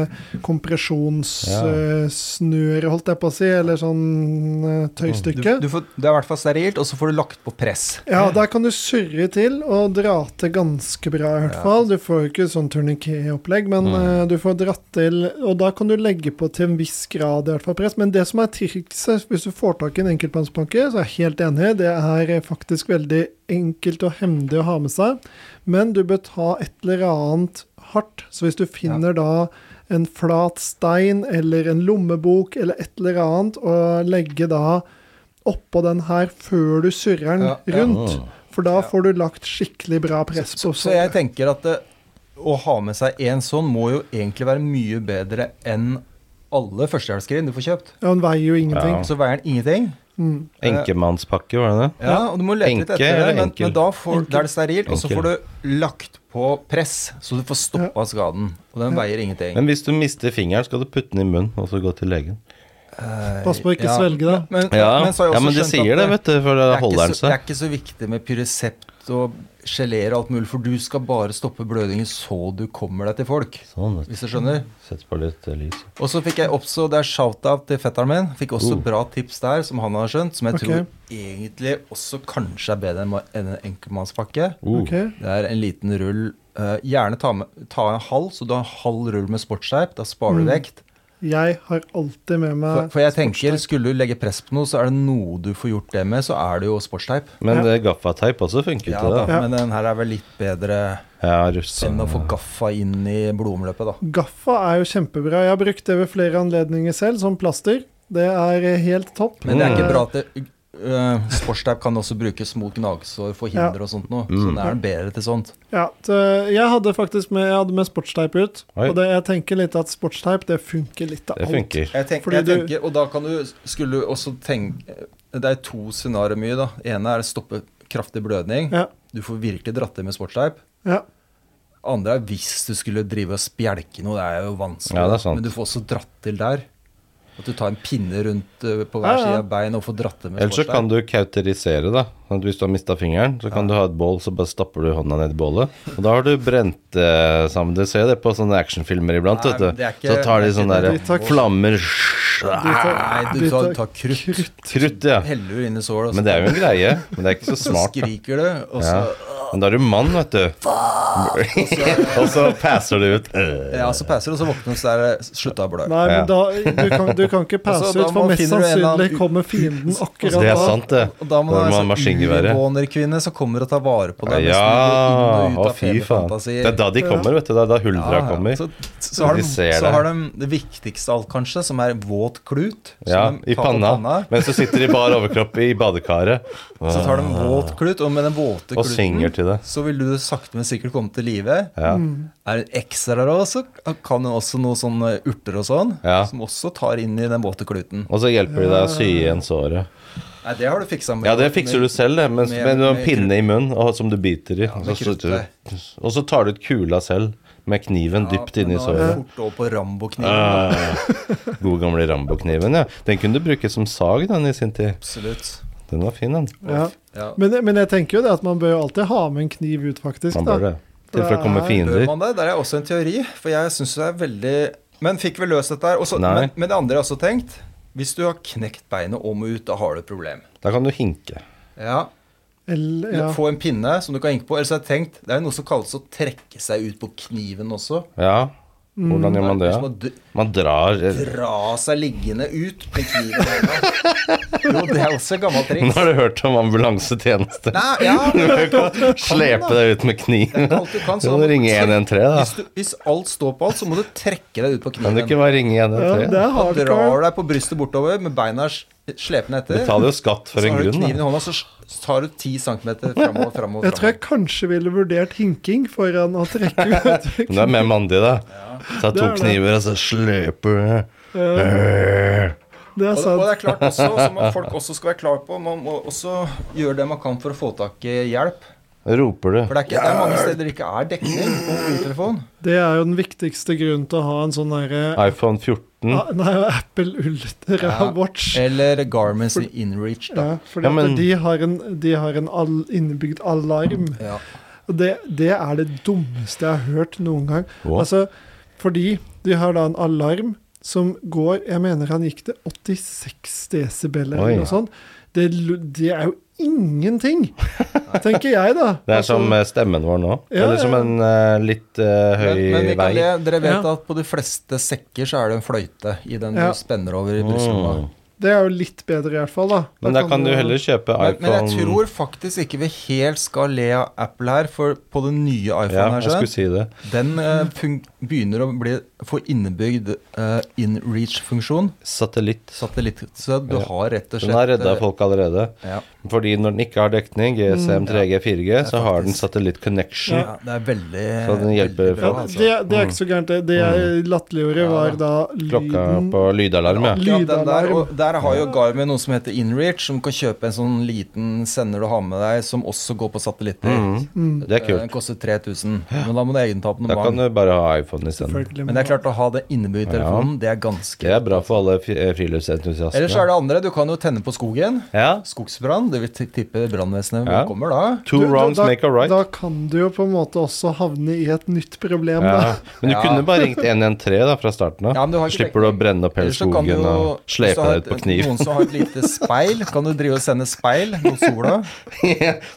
A: Ja.
B: kompresjonssnøre, eh, holdt jeg på å si, eller sånn eh,
C: Du,
B: tøystykke.
C: du får, det er i hvert fall sterilt, og så får du lagt på press.
B: Ja, der kan du surre til og dra til ganske bra, i hvert
C: Ja.
B: fall. Du får jo ikke sånn turniké-opplegg, men
A: Mm.
B: eh, du får dratt til, og da kan du legge på til en viss grad, i hvert fall, press. Men det som er trikset, hvis du får tak i en enkeltmannspakke, så er jeg helt enig, det er eh, faktisk veldig enkelt og hemdig å ha med seg, men du bør ta et eller annet hardt. Så hvis du finner da en flat stein eller en lommebok eller et eller annet, og legge da oppå den her før du surrer den
C: Ja, ja.
B: rundt.
A: Mm.
B: For da
C: Ja.
B: får du lagt skikkelig bra press
C: Så,
B: på sånn.
C: så jeg
B: såret.
C: tenker at det, å ha med seg en sånn må jo egentlig være mye bedre enn alle førstehjelpsskrin du får kjøpt.
B: Ja, den veier jo
A: Ja.
B: ingenting.
C: Så eh, veier den ingenting.
B: Mm.
A: Enkemannspakke, var det det?
C: Ja, og du må lete litt
A: Enke
C: etter det,
A: eller
C: men,
A: enkel?
C: men da, får, da er det sterilt, og så
A: Enkel.
C: får du lagt på press, så du får stoppa skaden. Og den veier ingenting.
A: Men hvis du mister fingeren, skal du putte den i munnen og så gå til legen.
B: Pass på å ikke svelge det.
C: Eh, Men,
A: Ja,
C: men så har jeg
A: ja
C: også
A: men de
C: skjønt
A: sier
C: at
A: det, vet du, for
C: det
A: da
C: er ikke
A: holder den
C: så-
A: seg.
C: Det er ikke så viktig med pyresept og geléer og alt mulig, for du skal bare stoppe blødningen så du kommer deg til folk.
A: Sånn, vet du.
C: Hvis du skjønner.
A: Sett på litt eh, lys.
C: Og så fikk jeg også, det er shout-out til fetteren min, fikk
A: Oh.
C: også bra tips der som han har skjønt, som jeg
B: Ok.
C: tror egentlig også kanskje er bedre enn enn en enkeltmannspakke.
A: Uh,
B: Ok,
C: Det er en liten rull. eh, gjerne ta, med, ta en halv, så du har en halv rull med sportsskjerp. Da sparer du
B: Mm.
C: vekt.
B: Jeg har alltid med
C: For,
B: meg
C: for jeg tenker, skulle du legge press på noe, så er det noe du får gjort det med, så er det jo sportsteip.
A: Men
B: Ja.
A: det gaffateip også funket
C: Ja,
A: til
C: da,
A: det.
C: Men den her er vel litt bedre
A: Ja, russa.
C: enn å få gaffa inn i blodomløpet, da.
B: Gaffa er jo kjempebra. Jeg har brukt det ved flere anledninger selv, som plaster. Det er helt topp.
A: Mm.
C: Mm. Men det er ikke bra til eh, Sportsteip kan også brukes mot gnagsår,
B: Ja.
C: forhinder og sånt noe. Så
A: Mm.
C: det er bedre til sånt.
B: Ja, så jeg hadde faktisk med, jeg hadde med sportsteip ut.
A: Oi.
B: Og det, jeg tenker litt at sportsteip det funker litt av
A: Det
B: alt.
A: funker.
C: Jeg, tenk,
B: Fordi
C: jeg
B: du-
C: tenker, og da kan du Skulle du også tenke Det er to scenarioer mye, da. ene er å stoppe kraftig blødning.
B: Ja.
C: Du får virkelig dratt det med sportsteip.
B: Ja.
C: Andre er hvis du skulle drive og spjelke noe. Det er jo vanskelig.
A: Ja, det er sant.
C: Men du får også dratt til der. At du tar en pinne rundt eh, på
B: Ja,
C: hver
B: ja.
C: side av beinet og får dratt det med
A: Ellers så kan du kauterisere, da. Sånn at hvis du har mista fingeren, så kan du ha et bål, så bare stapper du hånda ned i bålet. Og da har du brent eh, sammen. Du ser jo det på sånne actionfilmer iblant,
C: Nei,
A: vet
C: men
A: du.
C: det er
A: Så
C: ikke-
A: tar de
C: det er
A: sånne
C: ikke
A: der
B: det. De tar-
A: flammer sj-
C: Nei, du tar,
B: Litt av
C: tar krutt.
A: Krutt, ja.
C: Heller du inn i sålet, og
A: Men det er jo en greie. Men det er ikke så
C: så
A: smart. da.
C: skriker du, og så,
A: Ja. Men da er du mann, vet du. Og så passer du ut. Øh.
C: ja, så passer du, og så våkner du, så er det slutta å blø.
B: Nei,
A: Ja.
B: men da, du, kan, du kan ikke passe
C: Altså, da
B: ut, for
C: må-
B: mest
C: finner du en eller
B: sannsynlig
C: annen- Altså,
B: kommer fienden akkurat
A: Det er
B: da.
A: sant, det.
C: Og da
A: Da
C: må det
A: må
C: være
A: man
C: sånn
A: maskingeværet.
C: urinvånerkvinne som kommer og tar vare på deg. mens
A: Ja,
C: du går inn og ut
A: å
C: av
A: fy faen.
C: feberfantasier.
A: Det er da de kommer, vet du. Det er da
C: Ja,
A: huldra
C: ja.
A: kommer.
C: Så, så, har
A: De
C: de,
A: ser
C: så
A: det.
C: har de det viktigste av alt, kanskje, som er våt klut. som
A: Ja,
C: de
A: i
C: tar på
A: panna. Mens du sitter i bar overkropp i badekaret
C: Så tar de en våt klut, og med den våte
A: og synger
C: kluten
A: til det.
C: så vil du sakte, men sikkert komme til live.
A: Ja.
C: Er det en ekstra rå, så kan hun også noe sånn eh, urter og sånn,
A: Ja.
C: som også tar inn i den våte kluten.
A: Og så hjelper de deg å sy igjen såret.
C: Nei, det har du fiksa med.
A: Ja, det fikser du selv, det. Mens,
C: med-
A: med, med,
C: med
A: pinne i munnen og, som du biter i. og,
C: med
A: så, slutter
C: kruttet.
A: du, og så tar du ut kula selv, med kniven dypt
C: men
A: inni
C: nå er det
A: såret.
C: Fort over på Rambo-kniven.
A: Ah, gode gamle Rambo-kniven, ja. Den kunne du bruke som sag, den, i sin tid.
C: Absolutt.
A: Den var fin, den.
B: Ja.
C: Ja.
B: Men, men jeg tenker jo det at man bør jo alltid ha med en kniv ut, faktisk.
A: Man
B: Da.
A: bør det. Til for å komme
B: Nei,
A: fiender.
C: Bør man det? Der er også en teori, for jeg syns det er veldig Men fikk vi løst dette her? Også,
A: Nei.
C: men, men det andre jeg også har tenkt Hvis du har knekt beinet om og ut, da har du et problem.
A: Da kan du hinke.
C: Ja.
B: Eller, ja.
C: Få en pinne som du kan henge på. Eller så har jeg tenkt Det er jo noe som kalles å trekke seg ut på kniven også.
A: Ja.
C: Mm.
A: Hvordan gjør man det?
C: Hvis
A: da?
C: man dr-
A: Man drar eh,
C: dra seg liggende ut med kniven. i hånda. Jo, det er også et gammelt
A: Nå
C: triks.
A: har du hørt om ambulansetjeneste.
C: Nei, ja,
A: Du
C: det
A: kan ikke Slepe deg ut med kniv.
C: er ikke alt du kan.
A: Så
C: Så
A: må du ringe
C: så-
A: 113, da.
C: Hvis, du, hvis alt står på alt, så må du trekke deg ut på
A: Kan du
C: kniven.
A: ikke bare ringe
B: ja,
A: 113?
B: det er
C: Og
B: hardcore.
C: drar deg på brystet bortover med beina s- slepende etter.
A: Betaler jo skatt for
C: så
A: en
C: har du
A: grunn.
C: kniven i
A: Da.
C: hånda, så s- så tar du 10 centimeter framover, framover,
B: Jeg tror jeg kanskje ville vurdert hinking foran å trekke ut.
A: Men du er mer mandig, da. Ta
B: Det
A: to
B: er det.
A: kniver, og så sleper du Øh.
B: Det er
C: Og, og
B: sant.
C: det er klart også, som folk også skal være klar på, man må også gjøre det man kan for å få tak i hjelp.
A: Roper
C: For
A: du.
C: det er, ikke, det er mange steder det ikke er dekning på mobiltelefon.
B: Det er jo den viktigste grunnen til å ha en sånn derre
A: iPhone 14.
B: Ah, Nei, Apple Ultra
C: Ja.
B: Watch.
C: Eller Garments i InReach, da.
B: Ja, fordi
A: Ja,
B: at
A: men-
B: de har en, de har en all, innebygd alarm.
C: Ja.
B: Og det, det er det dummeste jeg har hørt noen gang.
A: Hva?
B: Altså, fordi de har da en alarm som går Jeg mener han gikk til 86 desibel
A: Oi.
B: eller noe sånt. Det, lu- det er jo ingenting, tenker jeg, da.
A: Det er
B: Altså,
A: som eh, stemmen vår nå.
B: Ja,
A: Eller som
B: ja.
A: en eh, litt eh,
C: Men, men
A: høy
C: Mikael,
A: vei.
C: det- dere vet
B: Ja.
C: at på de fleste sekker så er det en fløyte i den
B: Ja.
C: du spenner over i brystlomma.
A: Mm.
B: det er jo litt bedre, i hvert fall. da.
A: Men da kan du heller kjøpe
C: Men, men jeg
A: iPhone
C: tror faktisk ikke vi helt skal le av Apple her, for på den nye iPhonen
A: Ja,
C: her,
A: jeg skulle
C: skjønn,
A: si det.
C: Den eh, fun begynner å bli, få innebygd eh, InReach-funksjon.
A: Satellitt.
C: Satellitt. Så du
A: Ja.
C: har rett og slett
A: Den har redda
C: eh,
A: folk allerede.
C: Ja.
A: Fordi når den ikke har dekning, GSM, 3G, 4G, så har den
C: faktisk-
A: satellitt connection.
C: ja, det er veldig
A: Så den hjelper
C: veldig
B: ja,
C: bra,
A: folk.
B: det,
C: altså.
B: det er ikke
A: Mm.
B: så gærent. Det, det jeg latterliggjorde, var da
A: Klokka
B: lyden
A: på lydalarm, ja.
C: Akkurat den der,
B: Lydalarm.
C: og der har jo Garmin noe som heter InReach, som kan kjøpe en sånn liten sender du har med deg, som også går på satellitter.
A: Mm. Det er
C: Eh, Den
A: kult.
C: koster 3000, men da må du ha eget
A: Da kan du
C: abonnement.
A: bare ha iPhone isteden.
B: Selvfølgelig.
C: Men det er klart å ha det innebygd i telefonen, det er
A: Det
C: ganske
A: er bra for alle eh, fri-
C: Ellers er
A: friluftsentusiaster.
C: det andre. Du kan jo tenne på skogen.
A: Ja.
C: Skogsbrann. Du vil t- tippe brannvesenet
A: Ja.
C: kommer da.
A: Two
B: Du- du-
A: wrongs
B: da,
A: make a right.
B: Da kan du jo på en måte også havne i et nytt problem,
A: Ja.
B: da.
A: Men du
C: Ja.
A: kunne bare ringt 113 da, fra starten av.
C: Ja, men du har ikke
A: Slipper du å brenne opp hele
C: Ellers så kan du
A: skogen
C: jo-
A: og
C: hvis du
A: slepe
C: har
A: deg ut på
C: et-
A: kniv.
C: Noen som har et lite speil, kan du drive og sende speil mot sola?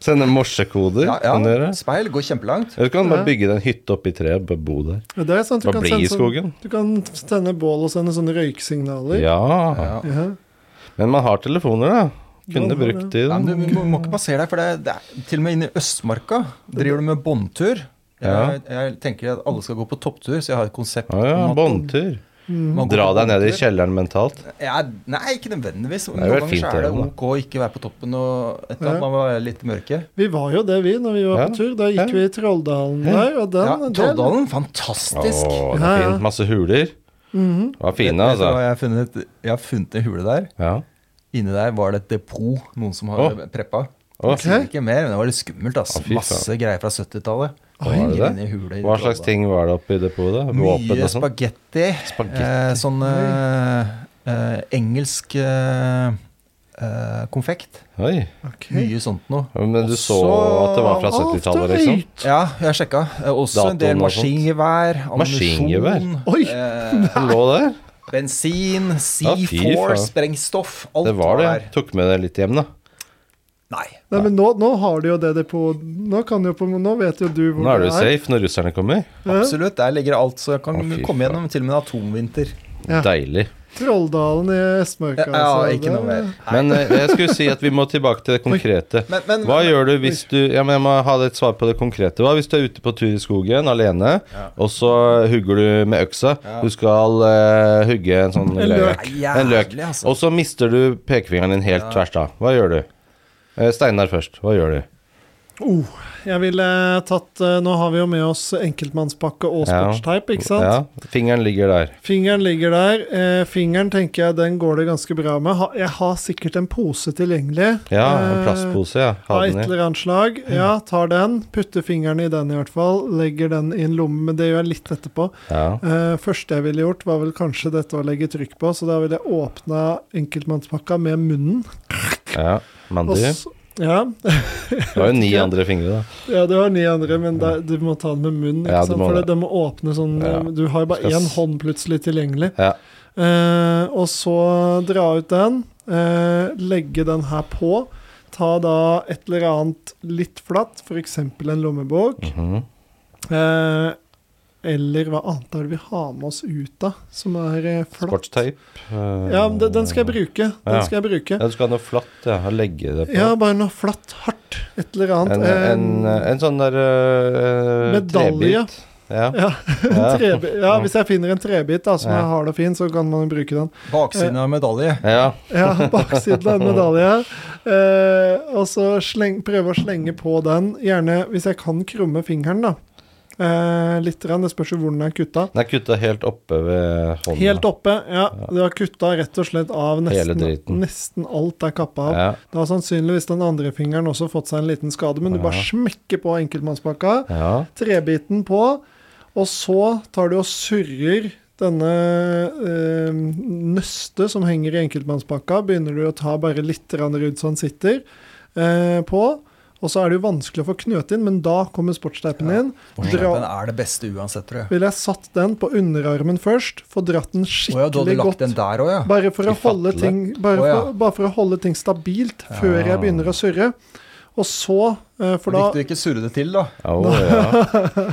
A: Sende morsekoder.
C: Ja,
A: Kan du
C: ja.
A: gjøre.
C: Speil går kjempelangt.
A: Eller så kan du
B: Ja.
A: bare bygge deg en hytte oppi treet, bare bo der.
B: Men Det er sant, du,
A: Bare
B: kan
A: bli
B: sende
A: i skogen.
B: Sånn, du kan sende bål og sende sånne røyksignaler.
A: Ja.
C: Ja.
B: Ja.
A: Men man har telefoner, da.
B: Ja,
A: Kunne brukt de.
C: Ja,
A: da.
C: men du må, må ikke passere deg, for det, det er til og med inne i Østmarka driver du med båndtur.
A: Ja.
C: Jeg, jeg tenker at alle skal gå på topptur, så jeg har et konsept.
A: Ja, ja,
C: om at-
A: båndtur.
D: Man går
A: Dra
D: på
A: deg ned i
D: opptur.
A: kjelleren mentalt.
C: Ja, nei, ikke nødvendigvis.
A: er jo
C: Noen ganger
A: fint,
C: så er
A: det,
C: det
A: da.
C: ok å ikke være på toppen og et eller
B: Ja.
C: annet. Man må være litt i mørket.
B: Vi var jo det, vi, når vi var
A: Ja.
B: på tur. Da gikk
A: Ja.
B: vi i Trolldalen der, og den
C: Ja,
B: den-
C: Trolldalen,
A: Å,
C: fantastisk.
A: det
B: Ja,
A: er
B: ja.
A: fint. Masse huler.
B: Mhm.
A: Det var
D: Vet-
A: fine,
D: vet du hva
A: altså.
D: Jeg har funnet, jeg har funnet en hule der.
A: Ja.
D: Inni der var det et depot.
C: Noen som har
A: Å.
C: preppa.
A: Å,
B: Ok.
D: Ikke mer, men det var litt skummelt. ass
A: Å, fy faen.
D: Masse greier fra 70-tallet.
A: Oi. Var det det?
D: Inni hule i
A: Hva slags
D: Trolldalen.
A: ting var det oppi depotet? Våpen
D: Mye
A: og sånn?
D: spagetti. Eh,
A: Spagetti.
D: sånn eh, eh, engelsk eh, eh, konfekt.
A: Oi.
B: Ok.
D: Mye sånt noe.
A: Ja, Men du så at det var fra 70-tallet, liksom?
B: Alt er høyt.
D: Ja, jeg sjekka. Eh, også en del
A: Datoen og sånt.
D: maskingevær, ammunisjon,
A: Maskingevær?
B: Oi!
C: Eh,
A: Det lå der.
D: bensin,
A: fy
D: C4,
A: faen.
D: sprengstoff. Alt
A: Det var det.
D: der.
A: Tok med det litt hjem, da.
D: Nei.
B: Nei, men nå, nå har de jo det depotet Nå kan jo på Nå vet jo du hvor
A: Nå er du
B: det er.
A: safe når russerne kommer.
C: absolutt. Der ligger det alt, så jeg kan
A: Å, fy
C: komme gjennom til og med en atomvinter.
B: Ja.
A: Deilig.
B: Trolldalen i Østmarka.
C: Ja,
B: altså,
C: ikke
B: det-
C: noe mer.
A: Men eh, jeg skulle si at vi må tilbake til det konkrete.
C: Men, men,
A: Hva gjør du hvis du Ja, men jeg må ha et svar på det konkrete. Hva hvis du er ute på tur i skogen alene, og så hugger du med øksa? Du skal eh, hugge en sånn
B: En løk.
A: løk.
D: Jævlig,
A: En løk.
C: liksom.
D: altså.
A: Og så mister du pekefingeren din helt tvers av. Hva gjør du? Eh, Steinar først. Hva gjør du?
B: Oh, jeg ville tatt eh, Nå har vi jo med oss enkeltmannspakke og
A: Ja.
B: sportsteip, ikke sant?
A: Ja, fingeren ligger der.
B: Fingeren ligger der. Eh, fingeren tenker jeg den går det ganske bra med. Ha, jeg har sikkert en pose tilgjengelig.
A: Ja, en
B: Eh,
A: plastpose, ja. Ha
B: Av et
A: den i.
B: eller annet slag. Ja, tar den. Putter fingeren i den i hvert fall. Legger den i en lomme, men det gjør jeg litt etterpå.
A: Ja.
B: Eh, første jeg ville gjort, var vel kanskje dette å legge trykk på, så da ville jeg åpna enkeltmannspakka med munnen.
A: ja.
B: Og
A: Mandy.
B: s- ja,
A: Du har jo ni andre fingre, da.
B: Ja, du har ni andre, men da- du må ta den med munnen. Ikke
A: Ja, du
B: sant?
A: må
B: For
A: det.
B: det, det må åpne sånn
A: Ja.
B: eh, Du har jo bare
A: Skal
B: én
A: s-
B: hånd plutselig tilgjengelig.
A: Ja.
B: Eh, og så dra ut den, eh, legge den her på. Ta da et eller annet litt flatt, f.eks. en lommebok.
A: Mhm.
B: Eh, eller hva annet er det vi har med oss ut, da, som er eh, flatt?
A: Sportsteip. eh,
B: Ja, men den- den skal jeg bruke. Den
A: Ja.
B: skal jeg bruke.
A: Ja, du skal ha noe flatt, ja. og Legge det på.
B: Ja, bare noe flatt, hardt. Et eller annet.
A: en, en,
B: Eh,
A: en sånn der eh,
B: Medalje.
A: Trebit. Ja.
B: ja. En
A: Ja.
B: trebit, ja, hvis jeg finner en trebit da, som
A: Ja.
B: jeg har det fin, så kan man jo bruke den.
C: Baksiden av medalje.
A: ja.
B: Ja, baksiden av en medalje. Eh, og så sleng, prøve å slenge på den, gjerne hvis jeg kan krumme fingeren, da. Eh, litt, rann, det spørs jo hvor den er kutta.
A: Den er kutta helt oppe ved hånda.
B: Helt oppe, ja. Du har kutta rett og slett av
A: Hele
B: nesten,
A: driten.
B: nesten alt er kappa av.
A: Ja.
B: Da har sannsynligvis den andre fingeren også fått seg en liten skade, men du bare
A: Ja.
B: smekker på enkeltmannspakka.
A: ja.
B: trebiten på, og så tar du og surrer denne eh, nøstet som henger i enkeltmannspakka, begynner du å ta bare litt grann rundt så den sitter eh, på. Og så er det jo vanskelig å få knøt inn, men da kommer sportsteipen inn. Dra,
C: Den er det beste uansett, tror jeg.
B: vil jeg satt den på underarmen først, få dratt den
C: Å ja, du hadde
B: skikkelig
C: lagt
B: godt.
C: den der òg, ja.
B: Bare for, å
A: I
B: holde
A: fatle.
B: ting, bare,
C: Å, ja.
B: for, bare for å holde ting stabilt før jeg begynner å surre. Og så, eh, for da
C: Viktig å ikke surre det til, da.
A: Å, ja.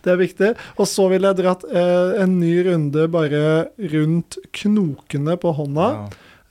B: Det er viktig. Og så ville jeg dratt eh, en ny runde bare rundt knokene på hånda.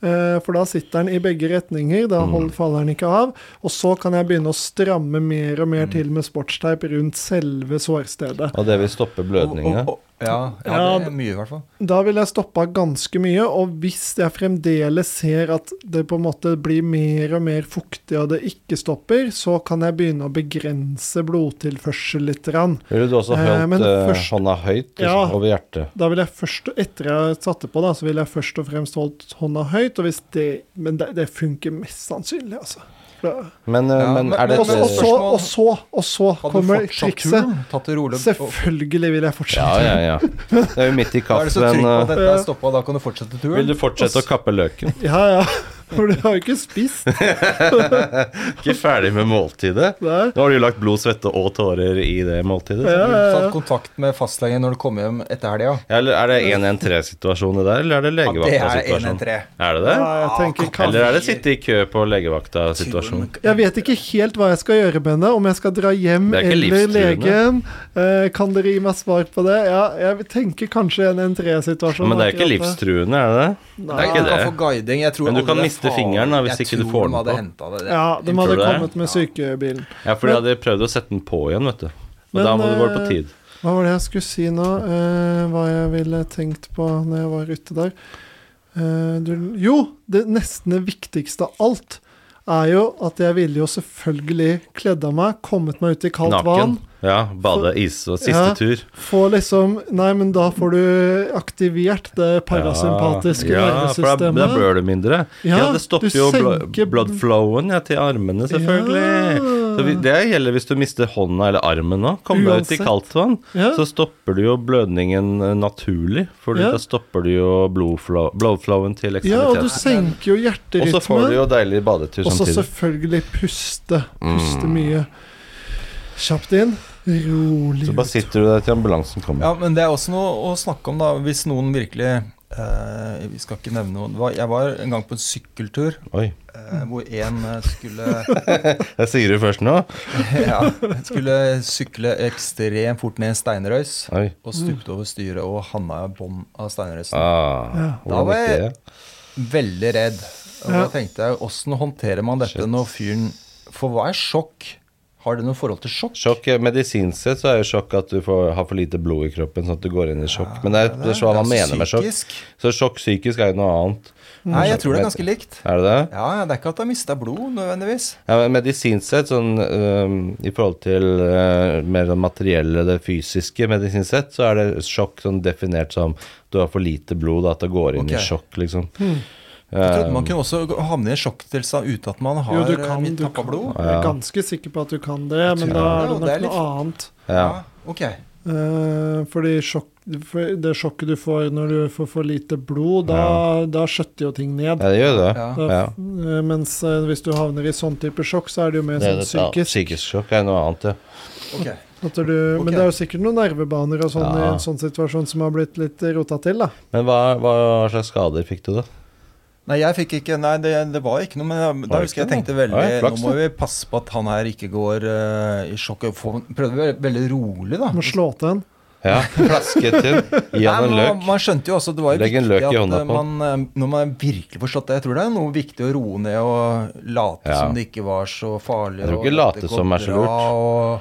B: Eh, for da sitter den i begge retninger. Da hold, faller den ikke av. Og så kan jeg begynne å stramme mer og mer til med sportsteip rundt selve sårstedet.
A: Og det vil stoppe blødninga.
C: Og- og- og- Ja, ja,
B: Ja,
C: det er mye, i hvert fall.
B: Da vil jeg stoppa ganske mye, og hvis jeg fremdeles ser at det på en måte blir mer og mer fuktig og det ikke stopper, så kan jeg begynne å begrense blodtilførsel litt. Rann.
A: Ville du også
B: Eh,
A: holdt
B: men
A: eh,
B: først-
A: hånda høyt liksom,
B: Ja.
A: over hjertet?
B: Da vil jeg først, etter jeg satte på, da, så vil jeg først og fremst holdt hånda høyt. Og hvis det, men det, det funker mest sannsynlig, altså. Da-
A: Men, eh,
C: Ja,
A: men
C: men-
A: er det
B: Og så, og så,
C: spørsmål?
B: og så, og så
C: Hadde du
B: kommer
C: fortsatt
B: trikset.
C: turen, tatt det rolig og-
B: Selvfølgelig vil jeg
A: Ja,
B: fortsette.
A: ja, ja. Det er jo midt i
C: Da er du så
A: kaffen.
C: trygg på at
A: eh,
C: dette er stoppa, da kan du fortsette turen.
A: Vil du fortsette å kappe løken?
B: Ja, ja. For du har jo ikke spist
A: Ikke ferdig med måltidet?
B: der.
A: Nå har du jo lagt blod, svette og tårer i det måltidet.
B: Ja, ja, ja.
C: Tatt kontakt med fastlegen når du kommer hjem etter helga.
A: Eller er det 113-situasjon det der, eller er det
C: Ja, det er
A: legevakta-situasjon?
C: 113.
A: Er det det?
B: Ja, jeg tenker
A: Eller
B: kanskje
A: er det sitte i kø på legevakta-situasjon?
B: Jeg vet ikke helt hva jeg skal gjøre med henne. Om jeg skal dra hjem
A: Det er ikke
B: eller
A: livstruende.
B: legen. Eh, kan dere gi meg svar på det? Ja, jeg tenker kanskje en N3-situasjon.
A: Men det er ikke livstruende, er det det?
B: Nei.
A: det er ikke
C: Du kan få guiding. Jeg tror
A: Men du
C: aldri
A: kan
C: det er
A: miste
C: farlig.
A: fingeren, da, hvis
C: Jeg
A: ikke du
C: tror
A: får den
C: de hadde
A: på.
C: hentet det.
B: Ja, de
A: Tror
B: hadde
A: du det?
B: kommet med sykebilen.
A: Ja, for de hadde prøvd å sette den på igjen, vet du. Og
B: Men,
A: da må du gå på
B: eh,
A: tid.
B: Hva var det jeg skulle si nå? Eh, hva jeg ville tenkt på når jeg var ute der? Eh, du, jo, det nesten det viktigste av alt er jo at jeg ville jo selvfølgelig kledd av meg, kommet meg ut i kaldt vann.
A: Naken. Ja, bade is og siste
B: Ja.
A: tur.
B: Få liksom Nei, men da får du aktivert det parasympatiske
A: ja, for da,
B: nervesystemet.
A: da blør du mindre. Ja, det stopper
B: du
A: jo blo
B: senker-
A: blood flowen ja, til armene, selvfølgelig.
B: Ja.
A: Så vi, det gjelder hvis du mister hånda eller armen nå. Kom deg ut i
B: Uansett.
A: kaldt vann,
B: Ja.
A: så stopper du jo blødningen eh, naturlig. For
B: Ja.
A: da stopper du jo blodflow- blodflowen til
B: ja, og du
A: ekstremiteten.
B: senker jo
A: og så får du
B: hjerterytmen.
A: jo deilig badetur
B: Og så
A: samtidig.
B: selvfølgelig puste. Puste
A: Mm.
B: mye. Kjapt inn, rolig
A: Så bare
B: ut.
A: sitter du der til ambulansen kommer.
C: Ja, men det er også noe å snakke om, da. Hvis noen virkelig eh, Vi skal ikke nevne noen. Det var- Jeg var en gang på en sykkeltur
A: Oi.
C: eh, hvor en eh, skulle
A: Jeg sier det først nå.
C: ja, skulle sykle ekstremt fort ned en steinrøys
A: Oi.
C: og stupte over styret og havna i bånn av steinrøysen.
A: Ah,
B: Ja.
A: hvordan
C: Da var
A: gikk
C: jeg-
A: det?
C: Veldig redd. Og da
B: Ja.
C: tenkte jeg, åssen håndterer man dette
A: Shit.
C: når fyren For hva er sjokk? Har det noe forhold til sjokk?
A: Sjokk, eh, Medisinsk sett så er jo sjokk at du får, har for lite blod i kroppen, sånn at du går inn i
C: Ah,
A: sjokk. Men det er, det er så hva man mener med sjokk.
C: Psykisk?
A: Så sjokk psykisk er jo noe annet.
C: Nei, jeg tror det er ganske likt.
A: Er det det?
C: Ja, ja, Det er ikke at jeg har mista blod, nødvendigvis.
A: Ja, men Medisinsk sett, sånn øhm, i forhold til øh, mer det materielle, det fysiske medisinsk sett, så er det sjokk sånn definert som du har for lite blod, da, at det går inn
C: Ok.
A: i sjokk, liksom.
B: Mm.
C: Jeg
A: Eh,
C: trodde man kunne også havne i en sjokktilstand uten at man har eh,
B: Jo, du kan,
C: mitt
B: du
C: tappa
B: kan.
C: blod.
B: Jeg er ganske sikker på at du kan det, men da er det
C: det. Jo, det
B: nok
C: er litt-
B: noe annet.
A: Ja.
C: ok.
B: Eh, fordi sjokk, for det sjokket du får når du får for lite blod, da, da skjøtter jo ting ned.
A: ja, det gjør det.
C: Ja.
B: Da-
A: Ja.
B: eh, mens eh, hvis du havner i sånn type sjokk, så er det jo mer
A: Det er
B: sånn
A: det- ja,
B: psykisk.
A: psykisk sjokk er noe annet, ja.
C: ok.
B: At du, Men
C: Ok.
B: det er jo sikkert noen nervebaner og sånn i
A: Ja.
B: en sånn situasjon som har blitt litt rota til, da.
A: Men hva, hva slags skader fikk du, da?
C: Nei, jeg fikk ikke Nei, det, det var ikke noe, men jeg-
A: Var
C: da
A: det
C: husker jeg
A: ikke
C: tenkte
A: noe?
C: veldig
A: Nei, flaks,
C: Nå må vi passe på at han her ikke går eh, i sjokk. og får- Prøvde å være veldig rolig, da.
B: Du Må slå til en.
A: Ja, Plasket inn, gi han en
C: Nei, man,
A: løk.
C: man skjønte jo også, det var jo
A: Legg en
C: viktig
A: løk i
C: at
A: hånda
C: eh,
A: på
C: man, eh, når man virkelig forstått det, jeg tror det er noe viktig å roe ned og late
A: Ja.
C: som det ikke var så farlig.
A: Jeg tror ikke
C: og
A: late
C: dette
A: som
C: går
A: er så
C: bra,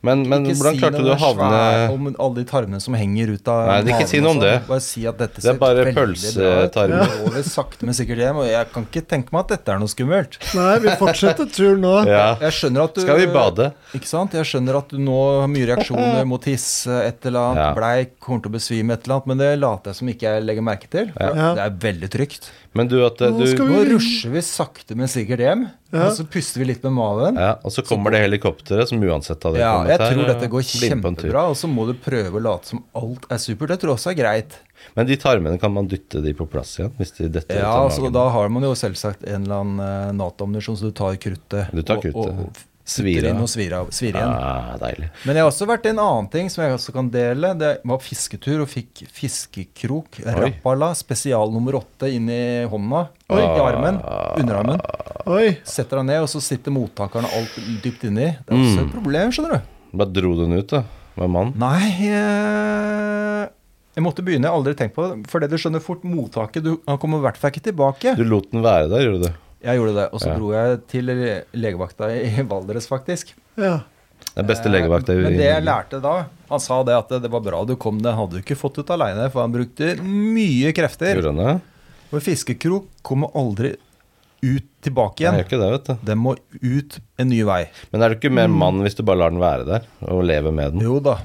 A: Men,
C: Og
A: men
C: ikke
A: hvordan
C: si
A: klarte
C: noe
A: du å havne
C: svært om alle de tarmene som henger ut av
A: Nei, det er ikke
C: magen
A: si noe
C: og
A: om
C: sånn.
A: det.
C: Bare si at dette
A: Det er bare
C: veldig bra ut.
A: pølsetarmer.
C: Det går vel sakte, men sikkert hjem, og jeg kan ikke tenke meg at dette er noe skummelt.
B: Nei, vi fortsetter turen nå.
A: ja.
C: Jeg skjønner at du
A: Skal vi bade?
C: Ikke sant? Jeg skjønner at du nå har mye reaksjoner mot hisse, et eller annet,
A: Ja.
C: bleik, kommer til å besvime et eller annet, men det later jeg som ikke jeg legger merke til. for
B: Ja.
C: Det er veldig trygt.
A: Men du, at eh,
B: Nå
A: du
B: skal
C: Nå
B: vi-
C: rusher vi sakte, men sikkert hjem,
B: Ja.
C: og så puster vi litt med maven.
A: Ja, og så kommer det helikopteret, som uansett hadde
C: Ja,
A: kommet
C: jeg
A: her,
C: tror
A: og
C: dette går
A: blir med på en tur.
C: kjempebra, og så må du prøve å late som alt er supert. Det tror jeg også er greit.
A: Men de tarmene, kan man dytte de på plass igjen? Hvis de detter ut
C: Ja,
A: av
C: altså,
A: magen?
C: Da har man jo selvsagt en eller annen eh, Nato-ammunisjon, så du tar kruttet
A: Du tar
C: og-
A: kruttet.
C: og, og
A: Svir
C: putter inn
A: av.
C: og svir, av, svir igjen.
A: ah, Deilig.
C: Men jeg har også vært i en annen ting som jeg også kan dele. Det var fisketur og fikk fiskekrok, rappala, spesial nummer åtte inn i hånda.
A: Oi.
C: Ikke armen, underarmen.
B: Oi.
C: Setter deg ned, og så sitter mottakeren og alt dypt inni. Det er
A: Mm.
C: også et problem, skjønner du.
A: Bare dro du den ut, da? Med mannen?
C: Nei eh, Jeg måtte begynne, jeg har aldri tenkt på det. For det du skjønner fort, mottaket du, Han kommer i hvert fall ikke tilbake.
A: Du lot den være der, gjorde du?
C: Jeg gjorde det. Og så
A: Ja.
C: dro jeg til legevakta i Valdres, faktisk.
B: Ja.
A: Den beste legevakta i
C: Eh, Men det jeg
A: Norge.
C: lærte da Han sa det at det, det var bra du kom, det hadde du ikke fått ut aleine, for han brukte mye krefter.
A: Gjorde han det?
C: Og fiskekrok kommer aldri ut tilbake
A: Nei,
C: igjen.
A: gjør ikke det, vet du.
C: Den må ut en ny vei.
A: Men er du ikke
B: Mm.
A: mer mann hvis du bare lar den være der, og lever med den?
C: Jo da,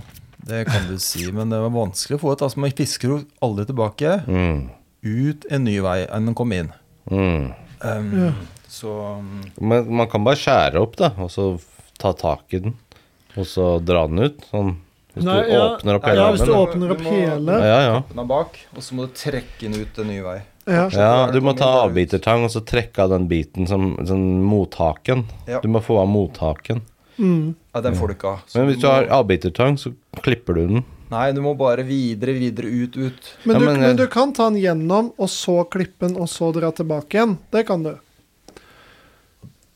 C: det kan du si, men det var vanskelig å få ut. Altså, man fiskekrok aldri tilbake.
A: Mm.
C: Ut en ny vei enn den kom inn.
A: Mm.
C: Um, Så um,
A: Men man kan bare skjære opp, da, og så ta tak i den, og så dra den ut. Sånn. Hvis
B: Nei,
A: du
B: ja.
A: åpner opp
B: Ja,
A: hele
B: hvis du
A: armen. da.
B: åpner opp
C: Du må-
B: hele
A: Ja, ja.
C: den er bak, og så må du trekke den ut en ny vei.
B: ja.
A: Ja, du må ta
C: Kommer ut.
A: avbitertang og så trekke av den biten som sånn mottaken.
C: Ja.
A: Du må få av mottaken.
B: Mm.
C: Ja, den får du ikke av. Så
A: Men hvis du
C: må-
A: har avbitertang, så klipper du den.
C: Nei, du må bare videre, videre, ut, ut.
B: Men,
A: Ja,
B: du,
A: men, eh,
B: men du kan ta den gjennom, og så klippe den, og så dra tilbake igjen. Det kan du.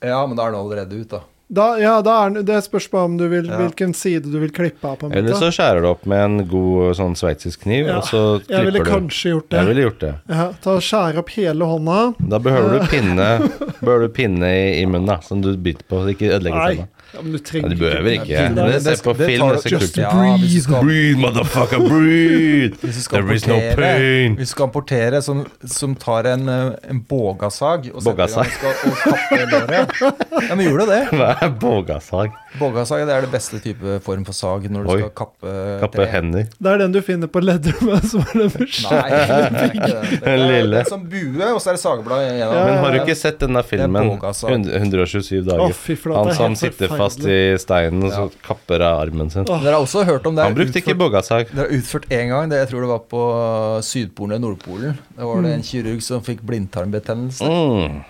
C: Ja, men da er den allerede ut, da.
B: Da, ja, da er den- det spørs bare om du vil,
C: Ja.
B: hvilken side du vil klippe av. på en
A: Eller
B: måte.
A: så skjærer du opp med en god sånn sveitsisk kniv,
B: Ja,
A: og så
B: Jeg ville
A: klipper du.
B: kanskje gjort
A: Jeg
B: det.
A: ville gjort det.
B: Ja, ta og Skjære opp hele hånda.
A: Da behøver du pinne, behøver du pinne i, i munnen, da, som du biter på, så det ikke ødelegger
B: Nei,
A: tenna.
B: Ja, men du
A: Ja,
B: trenger
A: du behøver ikke
B: Det
A: Men
B: er-
A: Se på film, det ser
B: just
A: kult ut.
D: Ja, hvis du skal-
A: Breathe, motherfucker, breathe!
C: Hvis du skal
A: There is no
C: amportere,
A: pain!
C: hvis du skal amportere som, som tar en, eh, en bogasag og setter i
A: Bogasag.
C: gang og skal- og kapper låret Ja, men gjorde du det?
A: Hva er bogasag?
C: Bogasag det er det beste type form for sag når du
A: Oi.
C: skal kappe,
A: Kappe hender.
B: Det er den du finner på Leddermann som er den første.
C: Nei, det er ikke det. det.
A: Den
C: er-
A: lille.
C: Det er som bue, og så er det sagblad igjennom.
B: Ja,
A: Men
B: ja,
A: har du
B: ja.
A: ikke sett denne filmen?
C: bogasag.
A: 100- 127
B: Å,
A: dager.
B: fy flate.
A: Han
B: det er
A: som
B: helt
A: sitter fast
B: forferdelig.
A: i steinen, og så kapper av armen sin.
B: Åh.
C: Dere har også hørt om det er
A: Han brukte ikke
C: utført-
A: bogasag.
C: Det er utført én gang. Det jeg tror det var på Sydpolen eller Nordpolen. Da var det en kirurg som fikk blindtarmbetennelse.
A: Mm.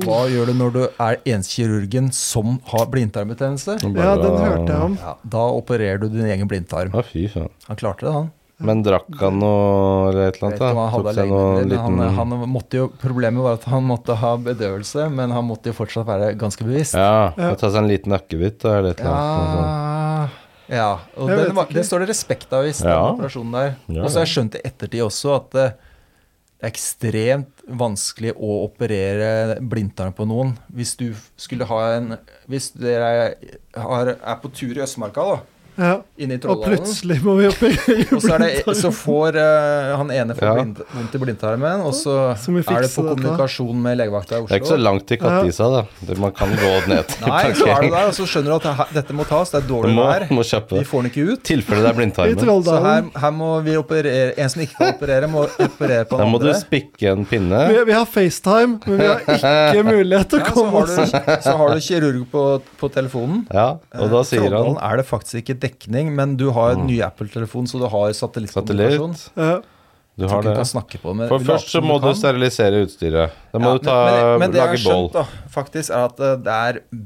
C: Hva gjør du når du er enskirurgen som har blindtarmbetennelse?
A: Mm.
B: Ja, den hørte jeg om.
C: Ja, da opererer du din egen blindtarm.
A: Å, fy faen.
C: Han klarte det, han.
A: Men drakk han noe eller et eller annet?
C: Vet ikke om
A: da?
C: han hadde
A: Tok seg noe
C: legemidler,
A: liten
C: men han, han måtte jo, Problemet var at han måtte ha bedøvelse, men han måtte jo fortsatt være ganske bevisst.
A: Ja, må ta seg en liten nakkebit da, eller et eller annet. noe sånt.
C: Ja, altså. ja. og
B: Ah. Jeg
C: det,
B: vet
C: var,
B: ikke.
C: det står det respekt av i den
A: Ja.
C: operasjonen der.
A: Ja,
C: Og så har jeg skjønt i ettertid også at eh, det er ekstremt vanskelig å operere blindtarm på noen. Hvis du f- skulle ha en Hvis dere er, har, er på tur i Østmarka, da,
B: Ja.
C: inne i
B: Og
C: Trolldalen
B: plutselig må vi operere
C: og så, er det,
B: blindtarmen.
C: så får eh, han ene får
A: Ja.
C: blind, vondt i blindtarmen, og så
B: Så må vi
C: er det
B: fikse
C: på
B: dette.
C: kommunikasjon med legevakta i
A: Det er ikke så
C: Oslo.
A: langt til Kattisa, da. Det- Man kan gå ned til
C: Nei, så er du
A: parkering.
C: der, og så skjønner du at det her- dette må tas, det er
A: Du
C: dårlig
A: må,
C: vær.
A: må kjappe
C: De
A: det.
C: får den ikke ut.
A: Tilfelle det er
B: I
A: blindtarmen.
C: Så her,
B: Trolldalen.
C: her må vi operere En som ikke kan operere, må operere på
A: Da
C: den
A: må du
C: andre.
A: spikke en pinne.
B: Vi, vi har FaceTime, men vi har ikke mulighet til
C: Ja,
B: å
C: så,
B: komme
C: har
B: oss
C: du, så har du kirurg på, på telefonen.
A: Ja, og da sier han Mm.
C: Trolldalen Eh, er det faktisk ikke dekning, men du har en ny Apple-telefon, så du har satellittkommunikasjon.
A: satellitt.
B: Ja.
A: Du
C: Jeg tror
A: har
C: ikke du
A: det.
C: kan snakke på den, men
A: For
C: vi
A: først
C: later
A: så
C: som
A: må du
C: kan.
A: sterilisere utstyret. Da
C: Ja,
A: må du ta,
C: men, men det jeg
A: lage
C: har
A: bål.
C: skjønt, da, faktisk, er at eh, det er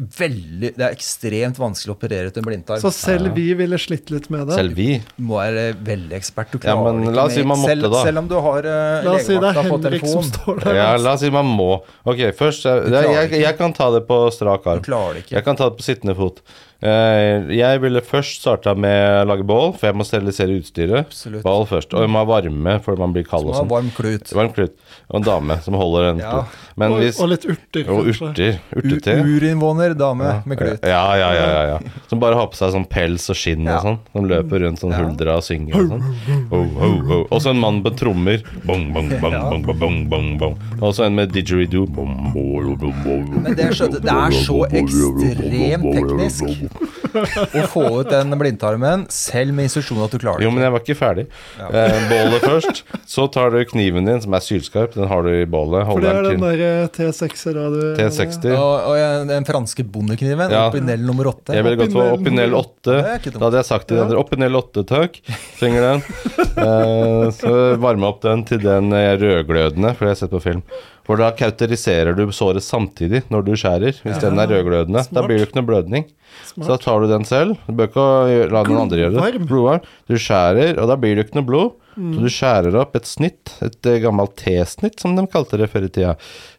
C: veldig Det er ekstremt vanskelig å operere ut en blindtarm.
B: Så selv vi ville slitt litt med det.
A: Selv vi.
C: du må være veldig ekspert. Du
A: Ja,
C: klarer
A: men
C: det ikke
A: la oss si
C: med-
A: man måtte,
C: selv,
A: da.
C: Selv om du har uh,
B: La oss si det er
C: legevakta på
B: Henrik som
C: telefon.
B: står der.
A: Ja, la oss si man må. Ok, først eh,
C: klarer
A: jeg,
C: ikke.
A: jeg, jeg kan ta det på strak
C: Du
A: arm.
C: klarer det ikke.
A: Jeg kan ta det på sittende fot. Eh, Jeg ville først starta med å lage bål, for jeg må sterilisere utstyret.
C: Absolutt.
A: Bål først. Og jeg må ha varme, for man blir kald og
C: Du må ha
A: sånn.
C: varm klut.
A: Varm klut. Og en dame som holder en
C: Ja.
A: klut. Men
B: og,
A: hvis
B: og litt urter.
A: Og
B: kanskje.
A: urter.
C: U-
A: Urtete.
C: Urinnvåner dame med
A: Ja,
C: klut.
A: ja, ja, ja, ja. Som bare har på seg sånn pels og skinn
C: Ja.
A: og sånn. Som løper rundt sånn
C: Ja.
A: huldra og synger og sånn. Ho, ho, ho. Og så en mann på trommer. Bong, bong, bong,
C: Ja.
A: bong, bong, bong, bong, bong. Og så en med didgeridoo. Bong, bong, bong, bong, bong.
C: Men det, jeg skjønte, det er så ekstremt teknisk å få ut den blindtarmen, selv med instruksjoner at du klarer
A: Jo,
C: det.
A: men jeg var ikke ferdig.
C: Ja.
A: Eh, bålet først. Så tar du kniven din, som er sylskarp. Den har du i bålet.
B: For
A: Holder
B: det er den eh,
A: den til
B: derre T6-era du
C: Og,
A: T60.
C: og jeg- den franske bondekniven,
A: Ja.
C: opinel nummer åtte.
A: Jeg ville gått for
B: Opinel-
A: Opinel 8.
C: Det er ikke dumt.
A: Da hadde jeg sagt til de andre Opinel 8, takk. Trenger den. Eh, så varme opp den til den er rødglødende, for det har jeg sett på film. For da kauteriserer du såret samtidig når du skjærer, hvis den er rødglødende. Da
B: Smart.
A: blir det ikke noe blødning. Så da
B: Smart.
A: tar du den selv. Du bør ikke gjøre- la noen andre gjøre det.
B: Blodvarm.
A: Blodvarm. Du skjærer, og da blir det ikke noe blod. Så
C: Mm.
A: du skjærer opp et snitt, et eh, gammelt T-snitt, som de kalte det før i tida.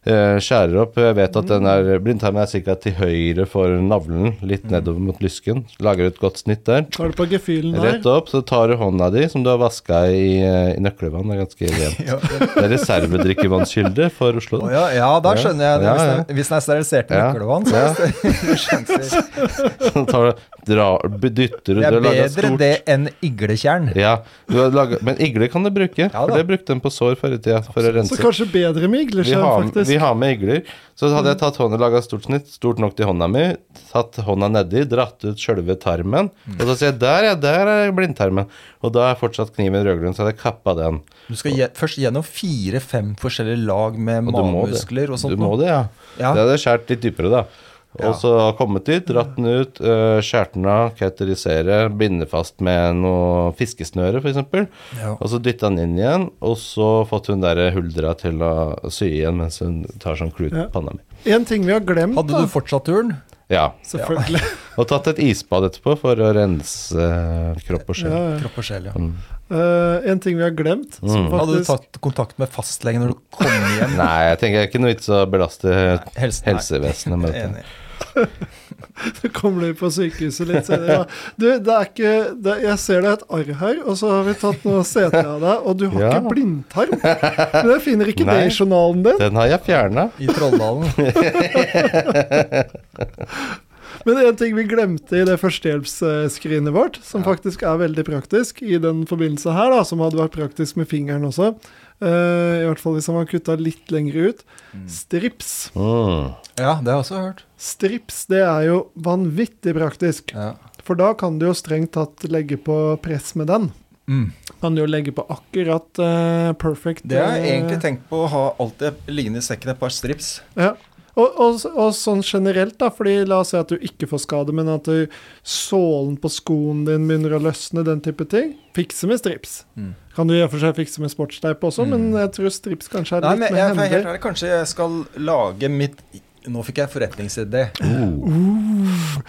A: Eh, Skjærer opp Jeg vet at den
C: Mm.
A: er blindtarmen er ca. til høyre for navlen, litt nedover mot lysken. Lager et godt snitt der.
B: Tar du på gefühlen der?
A: Rett opp, så tar du hånda di, som du har vaska i, eh, i nøklevann. Det er ganske rent.
C: Ja,
A: Det er reservedrikkevannskilde for Oslo.
C: Å ja, ja, da skjønner jeg det.
A: Ja,
C: Hvis
A: ja.
C: den- Hvis den er sterilisert med
A: Ja.
C: nøkkelvann, så
A: Ja.
C: er det sjanser.
A: Så tar du, drar, dytter du
C: Det
A: du har
C: er
A: laget et
C: bedre
A: stort-
C: det enn igletjern.
A: Ja, du har laget, men igle kan du bruke.
C: da.
A: for det brukte de på sår før i tida. For å
B: Så
A: rense.
B: kanskje bedre med
A: Vi
B: igleskjerm,
A: har,
B: faktisk.
A: vi har med igler. Så hadde
C: Mm.
A: jeg tatt hånda laga stort snitt, stort nok til hånda mi, tatt hånda nedi, dratt ut sjølve tarmen,
C: Mm.
A: og så sier jeg 'der, ja, der er blindtarmen'. Og da er fortsatt kniven rødgrønn, så hadde jeg kappa den.
C: Du skal gje- først gjennom fire-fem forskjellige lag med
A: Og du må det.
C: magemuskler og sånt.
A: Du må det, ja.
C: Ja.
A: Det hadde jeg skåret litt dypere, da. Og så kommet dit, dratt den ut, eh, skjært den av, kauterisere, binde fast med noe fiskesnøre f.eks.
C: Ja.
A: Og så dytta den inn igjen, og så fått hun der huldra til å sy igjen mens hun tar sånn klut på
B: Ja.
A: panna mi.
B: En ting vi har glemt,
C: Hadde du
B: da.
C: fortsatt turen?
A: Ja.
B: Selvfølgelig.
A: Og tatt et isbad etterpå for å rense eh, kropp og sjel.
B: Ja, ja.
C: Kropp og sjel, ja.
A: Mm.
B: Eh, en ting vi har glemt, som
C: Hadde du
B: faktisk
C: tatt kontakt med fastlegen når du kom hjem?
A: Nei, jeg tenker det er ikke noe vits å belaste
C: helse- nei.
A: helsevesenet med dette.
C: Enig.
B: kommer du på sykehuset litt senere. da. Du, det er ikke det, Jeg ser det er et arr her, og så har vi tatt noe CT av deg, og du har
A: Ja.
B: ikke blindtarm. Men jeg finner ikke det
A: Nei.
B: i journalen din.
A: Den har jeg fjerna.
C: I Trolldalen.
B: Men en ting vi glemte i det førstehjelpsskrinet vårt, som faktisk er veldig praktisk i den forbindelse her, da, som hadde vært praktisk med fingeren også, eh, i hvert fall hvis han var kutta litt lenger ut, strips.
A: Mm.
C: Ja, det har jeg også hørt.
B: Strips, det er jo vanvittig praktisk.
C: Ja.
B: For da kan du jo strengt tatt legge på press med den.
C: Mm.
B: Kan du jo legge på akkurat eh, perfect
C: Det har jeg
B: eh,
C: egentlig tenkt på, å ha alltid liggende i sekken et par strips.
B: Ja. Og, og, og sånn generelt, da, fordi la oss si at du ikke får skade, men at du, sålen på skoen din begynner å løsne, den type ting. Fikse med strips.
C: Mm.
B: Kan du i og for seg fikse med sportsteip også,
C: Mm.
B: men jeg tror strips kanskje er
C: Nei,
B: litt
C: men
B: med
C: jeg, for jeg er helt
B: hender.
C: ærlig, kanskje jeg skal lage mitt Nå fikk jeg en forretningsidé.
A: Uh,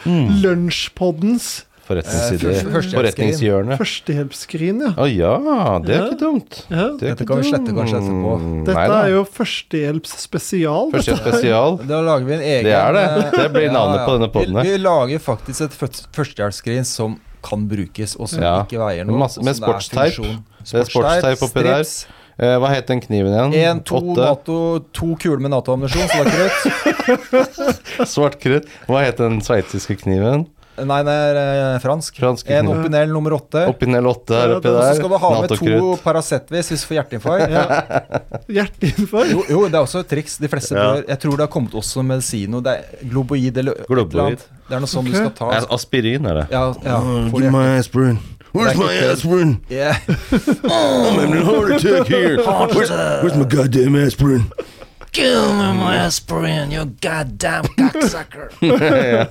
A: Mm.
B: Lunsjpoddens
A: Forretningssider.
C: Eh, først-
A: Forretningshjørnet.
B: førstehjelpsskrin, ja.
A: Å ja, det er
B: Ja.
A: ikke dumt.
B: ja.
A: Det er
C: Dette
A: ikke
C: kan vi slette
A: dumt. Mm,
C: kanskje etterpå.
B: Dette
A: Neida.
B: er jo førstehjelpsspesial.
A: Første spesial.
C: Da lager vi en egen eh,
A: Det er det. Det blir
C: Ja,
A: navnet på denne podden her.
C: Vi, vi lager faktisk et først- førstehjelpsskrin som kan brukes, og som
A: Ja.
C: ikke
A: Med
C: veier noe.
A: masse-
C: og
A: med
C: som det er
A: sportsteip.
C: funksjon.
A: Det er sportsteip oppi der.
C: strips.
A: Eh, hva het den kniven igjen?
C: En, to,
A: Åtte?
C: NATO, to kuler med Nato-ammunisjon, så det er krutt.
A: Svart krutt. Hva het den sveitsiske kniven?
C: Nei, det er eh, fransk.
A: Franske
C: En
A: kniven.
C: opinel nummer åtte.
A: Oppi nel åtte her
B: Ja,
A: oppi
B: den
C: Så
A: der.
C: skal du ha med to
A: Nato-krutt.
C: Paracetvis hvis du får hjerteinfarkt.
B: Hjerteinfarkt.
C: Jo, jo, det er også et triks. De fleste
A: Ja.
C: bør Jeg tror det har kommet også medisino. Det er globoid eller et
A: Globoid.
C: eller annet. Det er noe sånn du skal ta.
A: Eh, Aspirin er det.
C: Ja,
F: Oh,
C: ja.
B: Mm,
C: Får du-
A: my aspirin.
C: Where's my
A: aspirin?
C: Ja.
A: I'm having a heart attack here. Where's, my goddamn aspirin?
F: Kill me, my aspirin, you goddamn cocksucker.
A: ja.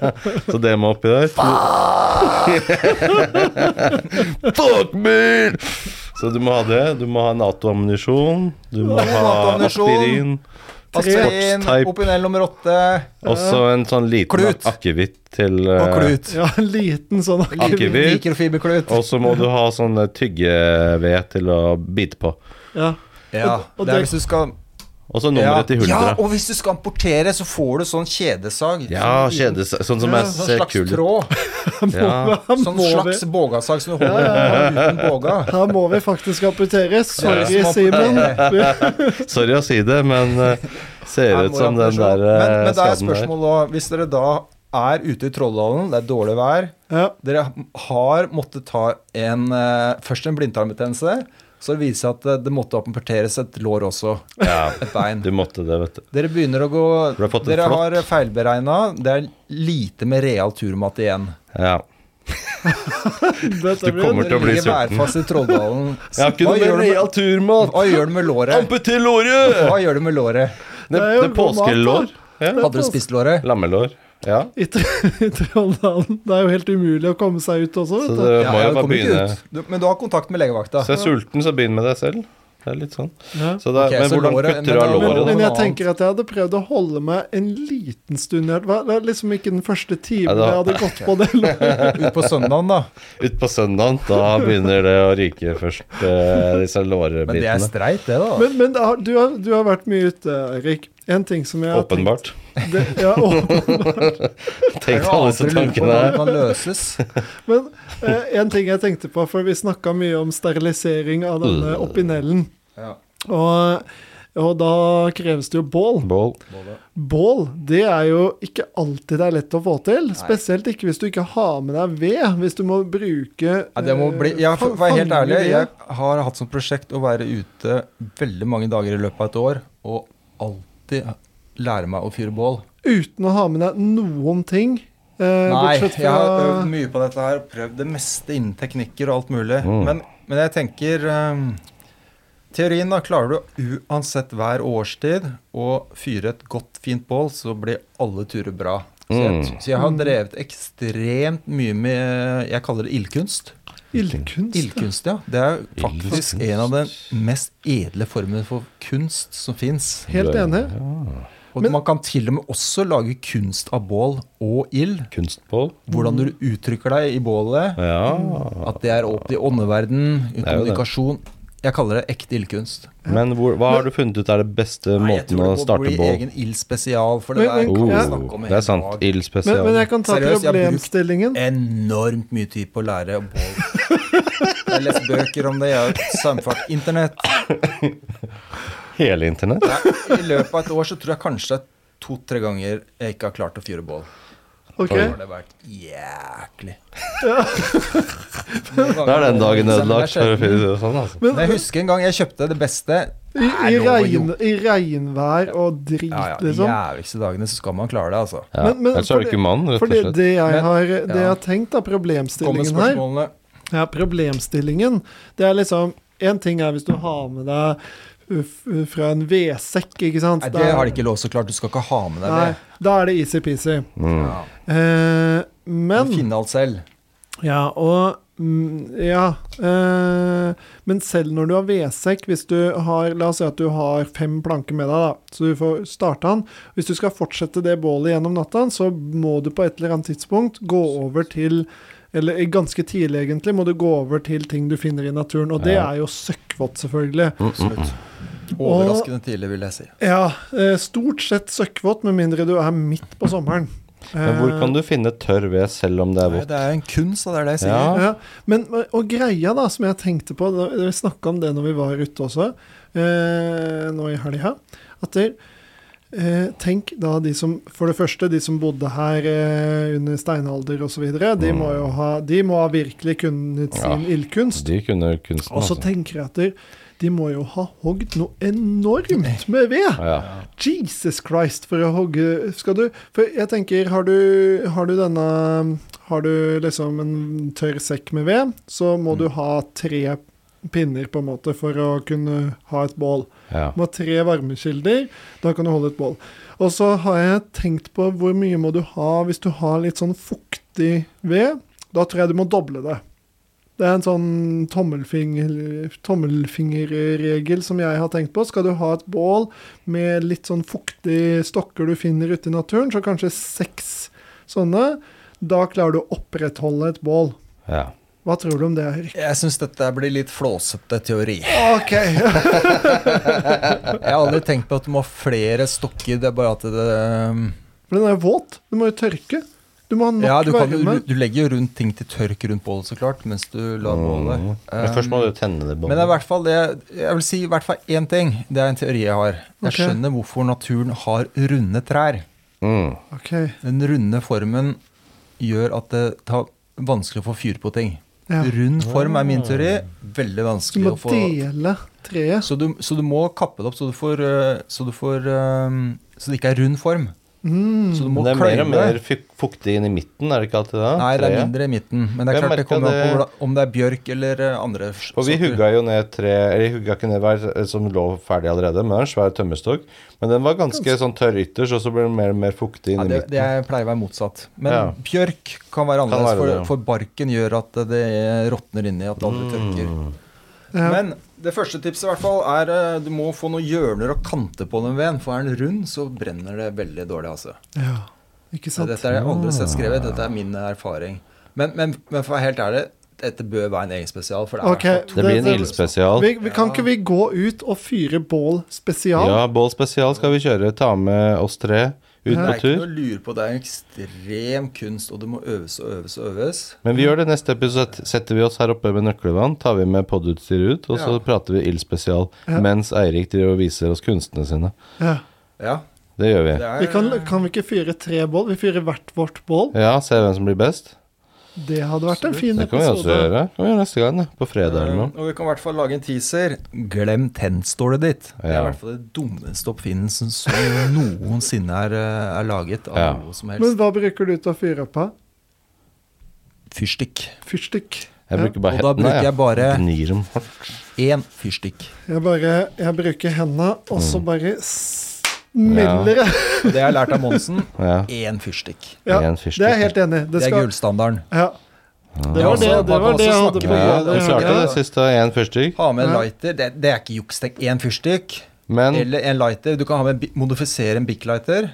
A: Så det må oppi der. Fuck me! Så du må ha det. Du må ha Nato-ammunisjon. Du må ha
C: NATO-ammunisjon.
A: aspirin.
C: Aspirin,
A: Sportstype.
C: opinel nummer åtte
A: Også en sånn liten
C: Klut.
A: akevitt til
C: og
A: eh,
C: klut.
B: Ja, en liten sånn
A: Akevitt.
C: Mikrofiberklut.
A: Og så må du ha sånn eh, tyggeved til å bite på.
B: Ja.
C: Ja,
B: Og- og
C: det
B: det-
C: er hvis du skal
A: Og så
C: ja.
A: nummeret til
C: ja,
A: huldra.
C: og hvis du skal importere, så får du sånn kjedesag.
A: Ja,
C: Sånn liten-
A: kjedes... Sånn som
B: Ja,
A: jeg
C: Sånn
A: ser
C: slags
A: kul ut.
C: tråd.
A: Ja.
C: Sånn
B: må
C: slags bågasag som du holder uten båga.
B: Her må vi faktisk apportere. Sorry,
C: Ja.
B: Simen.
A: Sorry å si det, men eh,
C: Ja,
A: ser ut som den der
C: morapperson. men,
A: eh,
C: men da er
A: skaden der.
C: spørsmålet òg Hvis dere da er ute i Trolldalen, det er dårlig vær
B: Ja.
C: Dere har måttet ta en eh, Først en blindtarmbetennelse. Så det viser seg at eh, det måtte apporteres et lår også.
A: Ja,
C: Et bein.
A: du måtte det, vet du.
C: Dere begynner å gå
A: Du har fått en
C: Dere
A: flått.
C: har feilberegna. Det er lite med real turmat igjen.
A: Ja.
B: Dette
A: Du kommer
B: blir
A: til å
C: Dere
A: bli
C: ligger
A: sulten.
C: værfast i Trolldalen.
A: Jeg har ikke
C: Hva
A: noe
C: gjør
A: mer
C: du med-
A: real turmat!
C: Hva gjør du med låret?
A: Amputer låret!
C: Hva gjør du med låret?
A: Det,
B: er jo
A: det er
B: god mat,
A: påskelår. Ja.
C: Hadde dere spist låret?
A: Lammelår. Ja.
B: i, Tr- i Trondheim. Det er jo helt umulig å komme seg ut også.
A: Så
B: Vet
A: det
B: du.
C: Ja,
A: må
C: ja,
A: jo
C: det
A: bare
C: kommer ikke
A: begynne.
C: ut. Du- Men du har kontakt med legevakta.
A: Hvis jeg er sulten, så begynn med deg selv. Det er litt sånn.
B: Ja.
A: Så det,
C: Ok,
A: men
C: så
A: hvordan
C: låret-
A: kutter du av
C: men-
B: Men,
A: låret?
B: men
A: da?
B: jeg tenker at jeg hadde prøvd å holde meg en liten stund. Jeg var det var liksom ikke den første
A: Ja,
B: timen
A: da-
B: jeg hadde gått på det. lå-
C: Ut på søndagen, da.
A: Ut på søndagen, da begynner det å ryke først, eh, disse
C: Men det er
A: lårebitene.
C: streit, det, da.
B: Men, men det har, du, har, du har vært mye ute, Eirik. En ting som jeg har
A: Åpenbart.
B: tenkt det, ja, åpen-
A: Tenk deg alle disse tankene
C: hvordan det
A: her.
C: kan løses.
B: Men eh, en ting jeg tenkte på, for vi snakka mye om sterilisering av denne
A: Mm.
B: opinellen.
C: Ja.
B: Og, og da kreves det jo bål.
A: Bål.
B: Bål det er jo ikke alltid det er lett å få til. Spesielt ikke hvis du ikke har med deg ved. Hvis du må bruke eh,
C: Ja, det må bli, ja, for å være helt
B: fange
C: ærlig,
B: ved.
C: jeg har hatt som prosjekt å være ute veldig mange dager i løpet av et år og alltid lære meg å fyre bål.
B: Uten å ha med deg noen ting. Eh,
C: Nei,
B: bortsett
C: jeg
B: fra
C: har øvd mye på dette her, prøvd det meste innen teknikker og alt mulig.
A: Mm.
C: Men, men jeg tenker ehm, Teorien da klarer du uansett hver årstid å fyre et godt, fint bål, så blir alle turer bra. Så jeg,
A: Mm.
C: så jeg har drevet ekstremt mye med Jeg kaller det ildkunst.
B: ildkunst.
C: Ildkunst, ja. Det er faktisk
A: Ildkunst.
C: en av de mest edle formene for kunst som fins.
B: Helt enig.
C: Og
B: Men-
C: man kan til og med også lage kunst av bål og ild.
A: Kunstbål.
C: Hvordan du uttrykker deg i bålet.
A: Ja.
C: At det er opp til åndeverden,
A: er
C: i
A: jo det.
C: kommunikasjon. Jeg kaller det ekte ildkunst.
A: Men hvor, hva har du funnet ut er det beste
C: Nei, jeg
A: måten
C: tror
A: å
C: det må
A: starte
C: bli
A: bål?
C: egen ild spesial, for det
B: Men-
C: der
B: men-
C: kan vi
B: Ja.
C: snakke om
A: Oh, det er sant. Ild
B: Men, men
A: spesial.
B: jeg kan ta
C: Seriøst, jeg har brukt-
B: problemstillingen.
C: Enormt mye tid på å lære om bål. Jeg har lest bøker om det, jeg har samfart internett.
A: Hele internett.
C: Nei, I løpet av et år så tror jeg kanskje det er to-tre ganger jeg ikke har klart å fyre bål.
B: Ok?
A: Oi.
C: har det vært jæklig.
A: Det er den dagen ødelagt. for å finne det Sånn, altså.
C: Men jeg husker en gang jeg kjøpte det beste.
B: I,
C: Nei,
B: i,
C: jo,
B: regn, I regnvær og drit,
C: Ja, ja, De
B: liksom.
C: jævligste dagene så skal man klare det, altså.
A: Ja.
B: Men- men
A: Ellers er du
B: fordi-
A: ikke mann, rett og
B: For det,
A: slett.
B: det, jeg
C: Men-
B: har, det jeg
C: ja.
B: har tenkt, da,
C: Kommer
B: problemstillingen her
C: spørsmålene.
B: Ja, problemstillingen. Det er liksom En ting er hvis du har med deg uh, fra en vedsekk, ikke sant.
C: Nei, det har de ikke lov så klart. Du skal ikke ha med deg
B: Nei,
C: det.
B: da er det easy-peasy.
A: Mm.
C: Ja.
B: Eh, men
C: Finne alt selv.
B: Ja, og mm, Ja. eh, men selv når du har vedsekk, hvis du har La oss si at du har fem planker med deg, da, så du får starta den. Hvis du skal fortsette det bålet gjennom natta, så må du på et eller annet tidspunkt gå over til eller ganske tidlig, egentlig, må du gå over til ting du finner i naturen. Og det
A: Ja.
B: er jo søkkvått, selvfølgelig.
C: Overraskende tidlig, vil jeg si.
B: Ja, eh, stort sett søkkvått, med mindre du er midt på sommeren. Eh,
A: Men hvor kan du finne tørr ved selv om det er
C: Nei,
A: vått?
C: det er en kunst, og det er det jeg
A: Ja.
C: sier.
B: Ja, men, og greia da, som jeg tenkte på, da- vi snakka om det når vi var ute også, eh, nå i helga, at det, eh, tenk da de som, for det første, de som bodde her eh, under steinalder osv., de, må jo ha- de må ha virkelig kunnet sin
A: Mm. Ja.
B: ildkunst.
A: De kunne kunsten,
B: Og så
A: altså.
B: tenker jeg at det- de må jo ha hogd noe enormt med ved!
A: Ja.
B: Jesus Christ, for å hogge Skal du For jeg tenker, har du, har du denne Har du liksom en tørr sekk med ved, så må du ha tre pinner på en måte for å kunne ha et bål.
A: Ja.
B: Du må ha tre varmekilder, da kan du holde et bål. Og så har jeg tenkt på hvor mye må du ha hvis du har litt sånn fuktig ved. Da tror jeg du må doble det. Det er en sånn tommelfinger, tommelfingerregel som jeg har tenkt på. Skal du ha et bål med litt sånn fuktige stokker du finner ute i naturen, så kanskje seks sånne. Da klarer du å opprettholde et bål.
A: ja.
B: Hva tror du om det, Erik?
C: Jeg syns dette blir litt flåsete teori.
B: OK.
C: Jeg har aldri tenkt på at du må ha flere stokker, det er bare at det um,
B: For den er våt. Du må jo tørke. Du må ha nok
C: Ja, du, kan,
B: varme.
C: du, du legger jo rundt ting til tørk rundt bålet, så klart, mens du lar bålet um,
A: Mm. Men først må du tenne det
C: Eh, Men det er i
A: båndet.
C: hvert fall det Jeg vil si i hvert fall én ting. Det er en teori jeg har. Jeg
B: Ok.
C: skjønner hvorfor naturen har runde trær.
A: Mm.
B: OK.
C: Den runde formen gjør at det tar vanskelig å få fyr på ting.
B: Ja.
C: Rund form er
A: Ah.
C: min teori. Veldig
B: Du
C: vanskelig
B: må
C: å få
B: dele treet.
C: så du, så du må kappe det opp så du får øh, Så, du får, øh, så det ikke er rund form.
B: Mm.
C: Så du må
A: Men det er mer og
C: kløyve.
A: mer fuk- fuktig inn i midten, er det ikke alltid det?
C: Nei, det er
A: Treet.
C: mindre i midten. Men det er
A: Jeg
C: klart det
A: merket
C: kommer an på
A: det-
C: hvordan- om det er bjørk eller øh, andre.
A: For vi
C: sorter.
A: hugga jo ned tre Eller hugga ikke ned hver som lå ferdig allerede, men det er en svær tømmerstokk. Men den var ganske sånn tørr ytterst, og så ble den mer og mer fuktig
C: Ja,
A: inni midten.
C: det, det pleier å være motsatt. Men
A: Ja.
C: bjørk kan være annerledes,
A: være det, ja.
C: for, for barken gjør at det råtner inni, at det aldri tørker.
B: Ja.
C: Men det første tipset i hvert fall er eh, du må få noen hjørner og kanter på den veden. For er den rund, så brenner det veldig dårlig. altså.
B: Ja. Ikke
C: Så
B: sant?
C: dette har jeg aldri sett skrevet. Dette er min erfaring. Men, men, men for å være helt ærlig, dette bør være en egen spesial. for det er
B: Ok,
C: hvert fall
A: Det blir en
B: det-
A: ildspesial.
B: Vi, vi kan ikke vi gå ut og fyre bål spesial?
A: Ja, bål spesial skal vi kjøre. Ta med oss tre ut
C: to- det
A: på
C: er ikke
A: tur.
C: noe å lure på. Det er en ekstrem kunst, og det må øves og øves og øves.
A: Men vi gjør det neste episode. Setter vi oss her oppe med nøkkelvann, tar vi med podutstyret ut, og så
C: Ja.
A: prater vi ildspesial
B: Ja.
A: mens Eirik driver og viser oss kunstene sine.
B: Ja.
C: Ja,
A: Det gjør vi.
C: det er,
B: Vi kan, kan vi ikke fyre tre bål? Vi fyrer hvert vårt bål.
A: Ja, se hvem som blir best.
B: Det hadde vært en fin
A: Det kan vi også
B: episode.
A: gjøre. Det kan vi gjøre neste gang, da. På fredag eller noe.
C: Eh, Og vi kan i hvert fall lage en teaser. Glem tennstålet ditt. Det er
A: Ja.
C: i hvert fall det dummeste oppfinnelsen som noensinne er, eh, er laget av
A: Ja.
C: noe som
B: Men
C: helst.
B: hva bruker du til å fyre opp av?
C: Fyrstikk.
B: Fyrstikk?
A: Jeg
B: Ja.
A: bruker bare
C: Og da
A: hendene,
C: bruker jeg bare-
A: Gnir dem hardt.
C: Én fyrstikk.
B: Jeg bare Jeg bruker hendene, og så
C: Mm.
B: bare smeller jeg.
C: Og det jeg har lært av Monsen,
A: Ja.
C: én fyrstikk.
B: Ja,
A: Ren
B: det er jeg helt enig i.
C: Det
B: Det,
C: er
B: skal-
C: gullstandarden.
B: ja. det
C: Ja,
B: var det,
C: altså,
B: det,
C: man kan
B: var det jeg
C: også
B: hadde
C: snakke
B: på
C: med-
A: Ja,
B: hjertet.
A: vi
C: det-
A: klarte det
C: det-
A: siste av én fyrstikk.
C: Ha med en
B: Ja.
C: lighter. Det, det er ikke juks. Det er én fyrstikk.
A: Men,
C: Eller en lighter. Du kan ha med, en bi- modifisere en Bic-lighter.
B: Mm.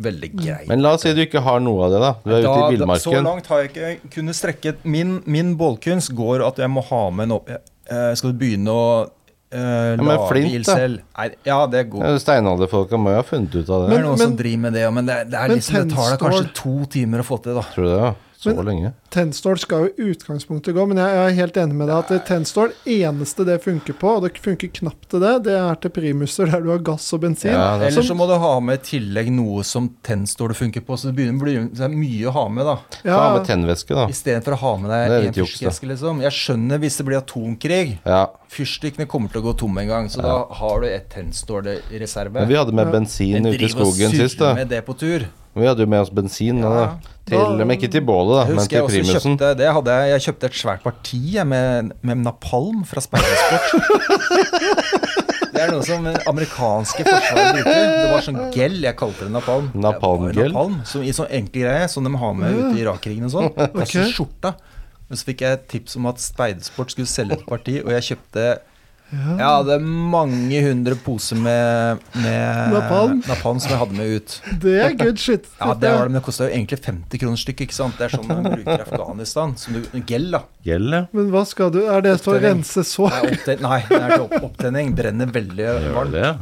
C: Veldig greit.
A: men la oss si du ikke har noe av det, da. Du er ute i
C: Da- da- Så
A: villmarken.
C: langt har jeg ikke kunnet strekke Min, min bålkunst går at jeg må ha med en opp... eh, skal du begynne å eh,
A: men
C: lage
A: flint,
C: ild
A: da.
C: selv? Nei, ja, det går.
A: Ja, Steinalderfolka må jo ha funnet ut av det.
C: det
B: Men-
C: er noen som
B: men-
C: driver med det, men det, er- det, er
B: men
C: liksom, det tar deg
B: tennstål-
C: kanskje to timer å få til, da.
A: Tror du det? Ja? Så
B: Men-
A: lenge.
B: Tenstol skal jo i utgangspunktet gå, men jeg jeg er helt enig med deg at Tenstol, eneste det funker på, og det funker knapt til det, det er til primuser der du har gass og bensin.
A: Ja, sånn- det er liksom
C: Eller så må du ha med i tillegg noe som tennstål funker på, så det begynner å bli det er mye å ha med, da.
A: Ta
B: Ja,
A: med tennvæske, da.
C: Istedenfor å ha med
A: Det er
C: deg
A: litt
C: en
A: juks, da.
C: fyrstikkeske, liksom. Jeg skjønner hvis det blir atomkrig.
A: Ja.
C: Fyrstikkene kommer til å gå tomme en gang, så da har du et tennstål i reserve.
A: Men vi hadde med bensin ute i skogen sist,
C: surrer
A: da.
C: med det på tur.
A: Vi hadde jo med oss bensin. Da.
C: Ja.
A: Til, men ikke til bålet, da,
C: Jeg
A: men
C: husker jeg
A: til
C: også
A: primusen.
C: kjøpte det hadde jeg, jeg kjøpte et svært parti jeg, med, med napalm fra Speidersport. det er noe som amerikanske forsvaret bruker. Det var sånn gel, jeg kalte det napalm. Det var
A: Napalmgel?
C: Napalm, som i sånn enkel greie, som de har med ute i Irak-krigen og sånn. Det er sånn skjorta. Men så fikk jeg et tips om at Speidersport skulle selge et parti, og jeg kjøpte jeg hadde mange hundre poser med, med
B: Napalm.
C: napalm som jeg hadde med ut.
B: det er good shit.
C: Ja, det var det, men det kosta jo egentlig 50 kroner stykket, ikke sant. Det er sånn man bruker i Afghanistan. Som du, gel, da.
A: Gjeld, ja.
B: Men hva skal du Er det for å
C: Opptenning.
B: rense
C: Det
B: sår?
C: er oppten, nei, det er til opp, opptenning. Brenner veldig varmt.
A: det, ja.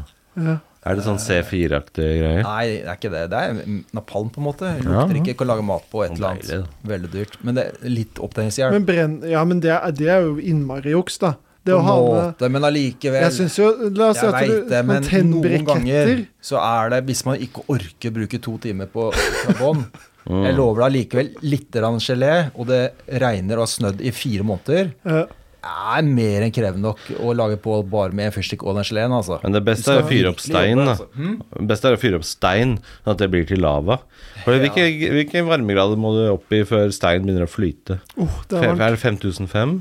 B: Ja.
A: Er det sånn C4-aktige greier?
C: Nei, det er ikke det. Det er napalm, på en måte.
A: Ja.
C: Lukter ikke. Kan lage mat på et eller
A: Deilig,
C: annet. Veldig dyrt. Men det er litt opptenningshjelp.
B: Men brenn Ja, men det er, det er jo innmari juks, da. Det å
C: På en
B: ha med
C: måte, men allikevel.
B: Jeg syns jo La oss si
C: Jeg
B: at
C: veit
B: du
C: det, men
B: man tenner
C: noen ganger
B: briketter.
C: så er det Hvis man ikke orker bruke to timer på karbon
A: Mm.
C: Jeg lover deg likevel litt grann gelé, og det regner og har snødd i fire måneder.
B: Ja.
C: Det er mer enn krevende nok å lage på bare med en fyrstikk og den geleen, altså.
A: Men det beste er å fyre opp stein, da.
B: altså.
A: Det beste er å fyre opp stein, sånn at det blir til lava. For hvilke, hvilke varmegrader må du opp i før stein begynner å flyte?
B: Oh, det er
A: Fe-
B: varmt.
A: Er det 5005?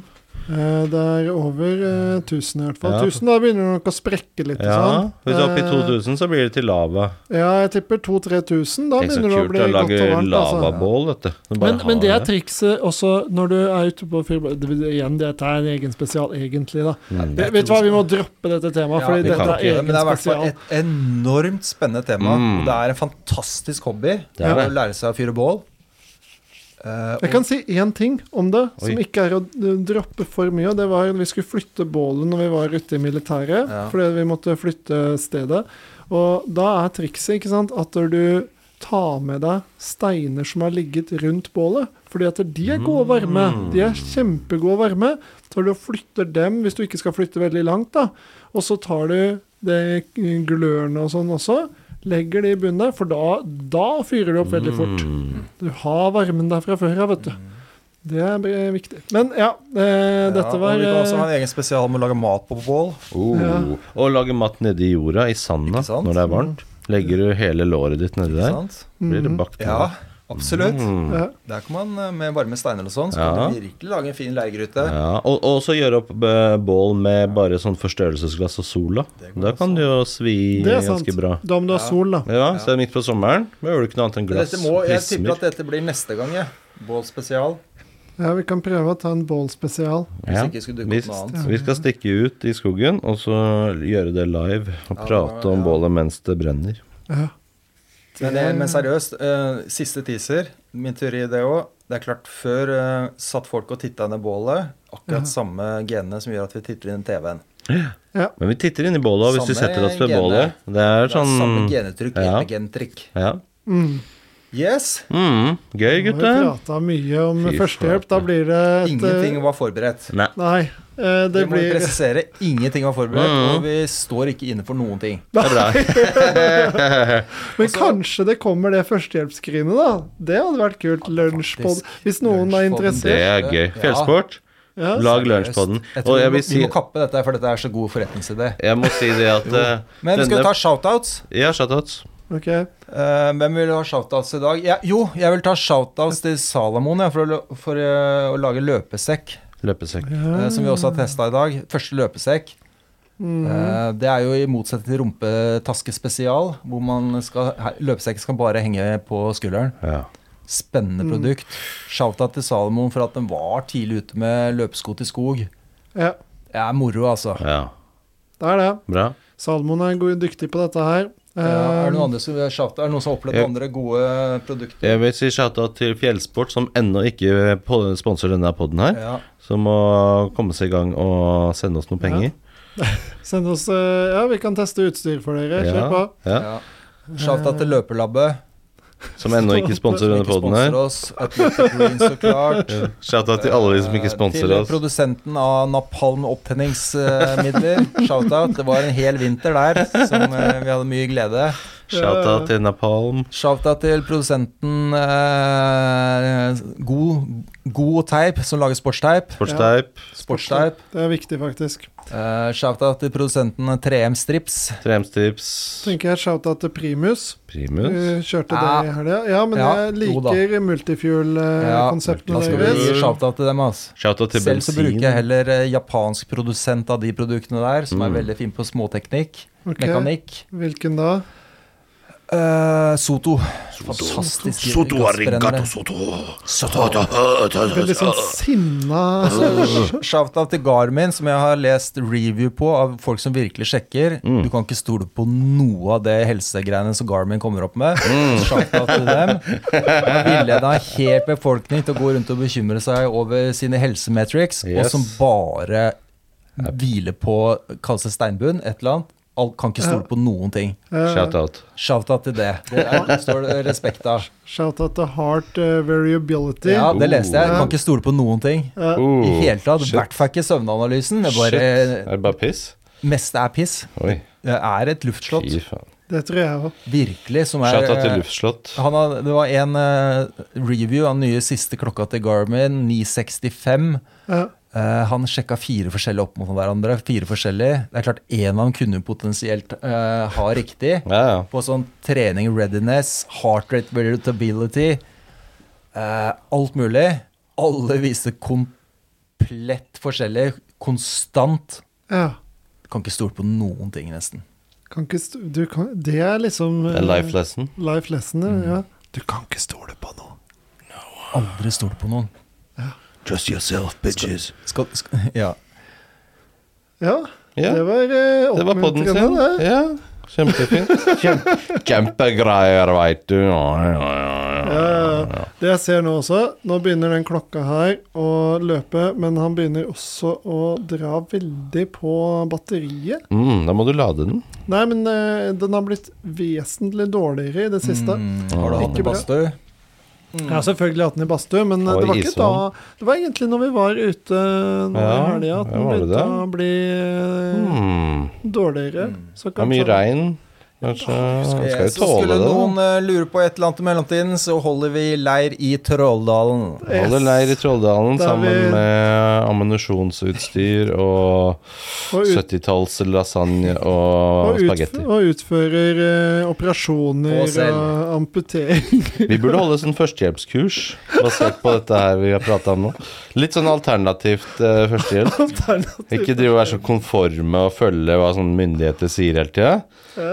B: Eh, Det er over eh, 1000 i hvert fall.
A: Ja.
B: 1000, da begynner det nok å sprekke litt. og
A: Ja.
B: sånn.
A: Hvis du er oppe i
B: Eh,
A: 2000, så blir det til lava.
B: Ja, jeg tipper 2000-3000. Da
A: Tenk så
B: begynner det å
A: kult
B: bli
A: å
B: godt
A: lage
B: og varmt. Altså.
A: lavabål, vet du. Du bare
B: Men, men
A: har
B: det er trikset også når du er ute på fyr... det- Igjen, dette er en egen spesial, egentlig, da.
A: Mm.
B: Vet du hva, vi må droppe dette temaet,
C: Ja,
B: Fordi
A: vi kan
B: dette
A: ikke
B: er
A: det,
B: egen
C: Men det er i hvert fall
B: spesial.
C: et enormt spennende tema.
A: Mm.
C: Og det er en fantastisk hobby
A: Det er
C: å
A: det.
C: lære seg å fyre bål. Eh,
B: Jeg kan si én ting om det, som
A: Oi.
B: ikke er å d- droppe for mye. og Det var at vi skulle flytte bålet når vi var ute i militæret,
C: Ja.
B: fordi vi måtte flytte stedet. Og da er trikset ikke sant, at du tar med deg steiner som har ligget rundt bålet. Fordi at de er gode å varme. De er kjempegode å varme. Så du og flytter dem, hvis du ikke skal flytte veldig langt, da. Og så tar du det glørne og sånn også. Legger det i bunnen der, for da, da fyrer du opp veldig fort. Du har varmen der fra før av, vet du.
C: Mm.
B: Det er br- viktig. Men ja, eh,
C: ja,
B: dette
C: og
B: var
C: Vi kan også
B: eh,
C: ha en egen spesial med å lage mat på bål.
A: Oh.
B: Ja.
A: Og lage mat nedi jorda, i sanda,
C: Ikke sant?
A: når det er varmt. Legger du hele låret ditt nedi
C: Ikke
A: der,
C: sant?
A: blir
B: Mhm.
A: det bakt.
C: Ja, absolutt.
A: Mm.
B: ja.
C: Der kan man eh, med varme steiner og sånn, så
A: Ja.
C: kan du virkelig lage en fin leirgryte.
A: Ja, og, og så gjøre opp eh, bål med bare sånn forstørrelsesglass og sola. Da kan det jo svi
B: Det er sant.
A: ganske bra.
B: Da må du ha sol, da.
A: Ja, så midt på sommeren behøver du ikke noe annet enn
C: Men
A: glass.
C: Dette må, jeg tipper
A: prismer.
C: at dette blir neste gang, jeg. Bål spesial.
B: Ja, vi kan prøve å ta en bålspesial.
C: Hvis
A: Ja.
C: ikke
A: Vi,
C: skulle dukke opp noe annet.
A: vi skal stikke ut i skogen og så gjøre det live. Og
C: Ja,
A: prate om
C: ja.
A: bålet mens det brenner.
B: Ja.
C: Men, det, men seriøst, eh, siste teaser. Min teori det òg. Det er klart, før eh, satt folk og titta ned bålet. Akkurat samme genene som gjør at vi titter inn i TV-en.
A: Men vi titter inn i bålet, og hvis vi
C: Samme
A: setter oss ved
C: gene.
A: bålet Det er
C: Det er samme
A: sånn
C: genetrykk,
A: ja.
C: ja. gentrykk.
A: ja.
B: Mm.
C: Yes!
A: mm, Gøy,
B: Nå har vi
A: gutter.
B: prata mye om
A: Fy
B: førstehjelp. Da
A: flate.
B: blir det et,
C: Ingenting var forberedt.
A: Nei.
B: Nei. eh, Det
C: Vi må
B: eh, blir
C: presisere ingenting var forberedt,
A: Mhm.
C: og vi står ikke inne for noen ting.
A: Det er bra.
B: Men kanskje det kommer det førstehjelpsskrinet, da. Det hadde vært kult. Lunsjpod. Hvis noen er
C: Lunsjpod.
A: Det
B: interessert.
A: er gøy.
C: Ja.
A: Fjellsport,
B: Ja.
A: lag lunsjpodden.
C: Jeg tror
A: Og
C: vi,
A: jeg
C: må,
A: vil si
C: vi må kappe dette, for dette er så god forretningsidé.
A: Jeg må si det at eh,
C: Men vi skal
A: denne-
C: jo ta shoutouts.
A: Ja, shoutouts.
B: Ok.
C: Eh, hvem vil ha shoutouts i dag? Ja, jo, jeg vil ta shoutouts til Salomon ja, for, å, lø- for eh, å lage løpesekk,
A: Løpesekk.
C: eh, som vi også har testa i dag. Første løpesekk. Eh, det er jo i motsetning til rumpetaske spesial, hvor man skal, her- løpesekken skal bare henge på skulderen.
A: Ja.
C: Spennende produkt. Shoutout til Salomon for at den var tidlig ute med løpesko til skog.
B: Ja,
C: Det er moro, altså.
A: ja.
B: det er det.
A: Bra.
B: Salmon er god, dyktig på dette her.
C: Ja, er det
B: Eh,
C: noen andre som vil ha shout- er det noen som har opplevd
A: Jeg-
C: andre gode produkter?
A: Jeg vil si shoutout til Fjellsport, som ennå ikke po- sponser denne poden her.
C: Ja.
A: Som må komme seg i gang og sende oss noen penger.
B: Send oss eh, Ja, vi kan teste utstyr for dere. Kjør på.
A: Ja.
C: Ja. Shoutout til løperlabbe.
A: Som ennå ikke sponser denne poden her.
C: Sponser oss. Athletic Green, så klart.
A: Shout-out til alle de som ikke sponser
C: Eh, Til
A: oss.
C: produsenten av Napalm opptenningsmidler. Shout-out. Det var en hel vinter der som eh, vi hadde mye glede.
A: Shout-out til Napalm.
C: Shout-out til produsenten eh, God, god Teip, som lager sportsteip.
A: Sportsteip.
C: Sportsteip.
B: Det er viktig, faktisk.
C: Eh, Shout-out til produsenten eh, 3M Strips.
A: Tremstips.
B: Tenker jeg shout-out til Primus.
A: Primus.
B: Du kjørte
C: Ja.
B: det i helga. Ja, men
C: Ja,
B: jeg
C: jo da.
B: liker
C: Ja, Da
B: multifuel-konseptene
C: skal vi
B: deres.
C: gi shout-out til dem, altså.
A: Shout-out til
C: Selv så
A: bensin.
C: bruker jeg heller eh, japansk produsent av de produktene der, som er
A: Mm.
C: veldig fin på småteknikk,
B: Ok,
C: mekanikk.
B: Hvilken da?
C: Eh, Soto. Fantastisk.
F: Soto arigato,
C: gassbrennere.
F: soto.
B: Veldig sånn sinna
C: Shout-out til Garmin, som jeg har lest review på av folk som virkelig sjekker.
A: Mm.
C: Du kan ikke stole på noe av det helsegreiene som Garmin kommer opp med.
A: Mm.
C: Shout-out til dem. Villeda en hel befolkning til å gå rundt og bekymre seg over sine helsemetrics,
A: Yes.
C: og som bare hviler på kalles det steinbunn, et eller annet. Alt kan ikke stole på noen ting.
B: Eh,
A: Shout-out.
C: Shout-out til det. Det er- står det respekt av.
B: Shout-out til Heart eh, Variability.
C: Ja, det leste jeg. Kan ikke stole på noen ting.
B: Eh,
C: I
A: Oh,
C: hele tatt. I
A: shit.
C: hvert fall ikke søvnanalysen. Det
A: Shit.
C: bare
A: Er det bare piss?
C: meste er piss.
A: Oi,
C: Det er et luftslott,
A: fy faen.
B: det tror jeg òg.
C: virkelig, som er
A: Shout-out til
C: eh,
A: Luftslott.
C: han har, Det var en eh, review av den nye siste klokka til Garmin, 965. Eh, han sjekka fire forskjellige opp mot hverandre. Fire forskjellige. Det er klart, én av dem kunne jo potensielt eh, ha riktig.
A: Ja, ja.
C: På sånn trening readiness, heart rate veritability, eh, alt mulig. Alle viste komplett forskjellig, konstant.
B: Ja.
C: Kan ikke stole på noen ting, nesten.
B: Kan ikke st du kan, det er liksom
A: A
B: eh,
A: life Mm. lesson.
B: life lesson, ja. Du kan ikke stole på noe.
C: Aldri stole på noen.
F: Trust yourself, bitches.
C: Skal, skal, ja.
B: Ja,
A: Ja,
B: det var eh,
A: det var podden sin.
B: oppmuntrende, det.
A: Ja, kjempefint. Kjempe- Kjempegreier, veit du. Ja, ja, ja, ja.
B: Ja, det jeg ser nå også, nå begynner den klokka her å løpe, men han begynner også å dra veldig på batteriet.
A: Mm, da må du lade den.
B: Nei, men eh, den har blitt vesentlig dårligere i det siste.
C: Mm, har du
A: Ikke
C: hatt en
B: bra.
C: badstue?
B: Jeg har selvfølgelig hatt den i badstue, men eh,
A: Og
B: det var
A: i
B: ikke da
A: ishallen.
B: Det var egentlig når vi var ute eh,
A: sånn.
B: nå i
A: Ja,
B: helga at
A: ja, var
B: den
A: det
B: begynte
A: det?
B: å bli eh,
A: Mm.
B: dårligere. Så
A: Det er mye
B: kanskje-
A: regn. Kanskje Han skal jo
C: Eh, Så
A: tåle
C: skulle
A: det,
C: noen
A: da.
C: eh, lure på et eller annet i mellomtiden, så holder vi leir i Trolldalen.
A: Holder leir i Trolldalen
B: Da er
A: sammen
B: vi-
A: med ammunisjonsutstyr og
B: Og ut-
A: 70-talls lasagne og
B: Og, utf
A: spagetti.
B: og utfører eh, operasjoner
C: Og selv.
B: og amputering.
A: Vi burde holde sånn førstehjelpskurs basert på dette her vi har prata om nå. Litt sånn alternativt eh, førstehjelp. Ikke drive og være så konforme og følge hva sånne myndigheter sier hele tida.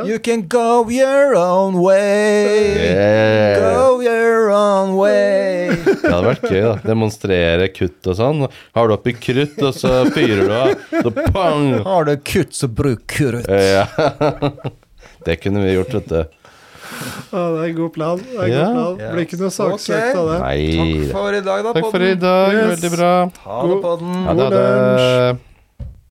C: You can go your own way.
A: Yeah.
C: Go your own way.
A: Det hadde vært gøy, da. Demonstrere kutt og sånn. Har du oppi krutt, og så fyrer du av. Så pang!
C: Har du kutt, så bruk krutt.
A: Ja. Det kunne vi gjort, vet du.
B: Ja, det er en god plan. Det er en
A: Ja.
B: god plan.
C: Ja.
B: Blir ikke noe saksøkt
C: Ok.
B: av det.
A: Nei.
C: Takk for i dag, da,
A: Takk for i
C: podden.
A: dag.
B: Yes.
A: Veldig bra.
C: Ha det, podden.
A: Ha det. Ha det.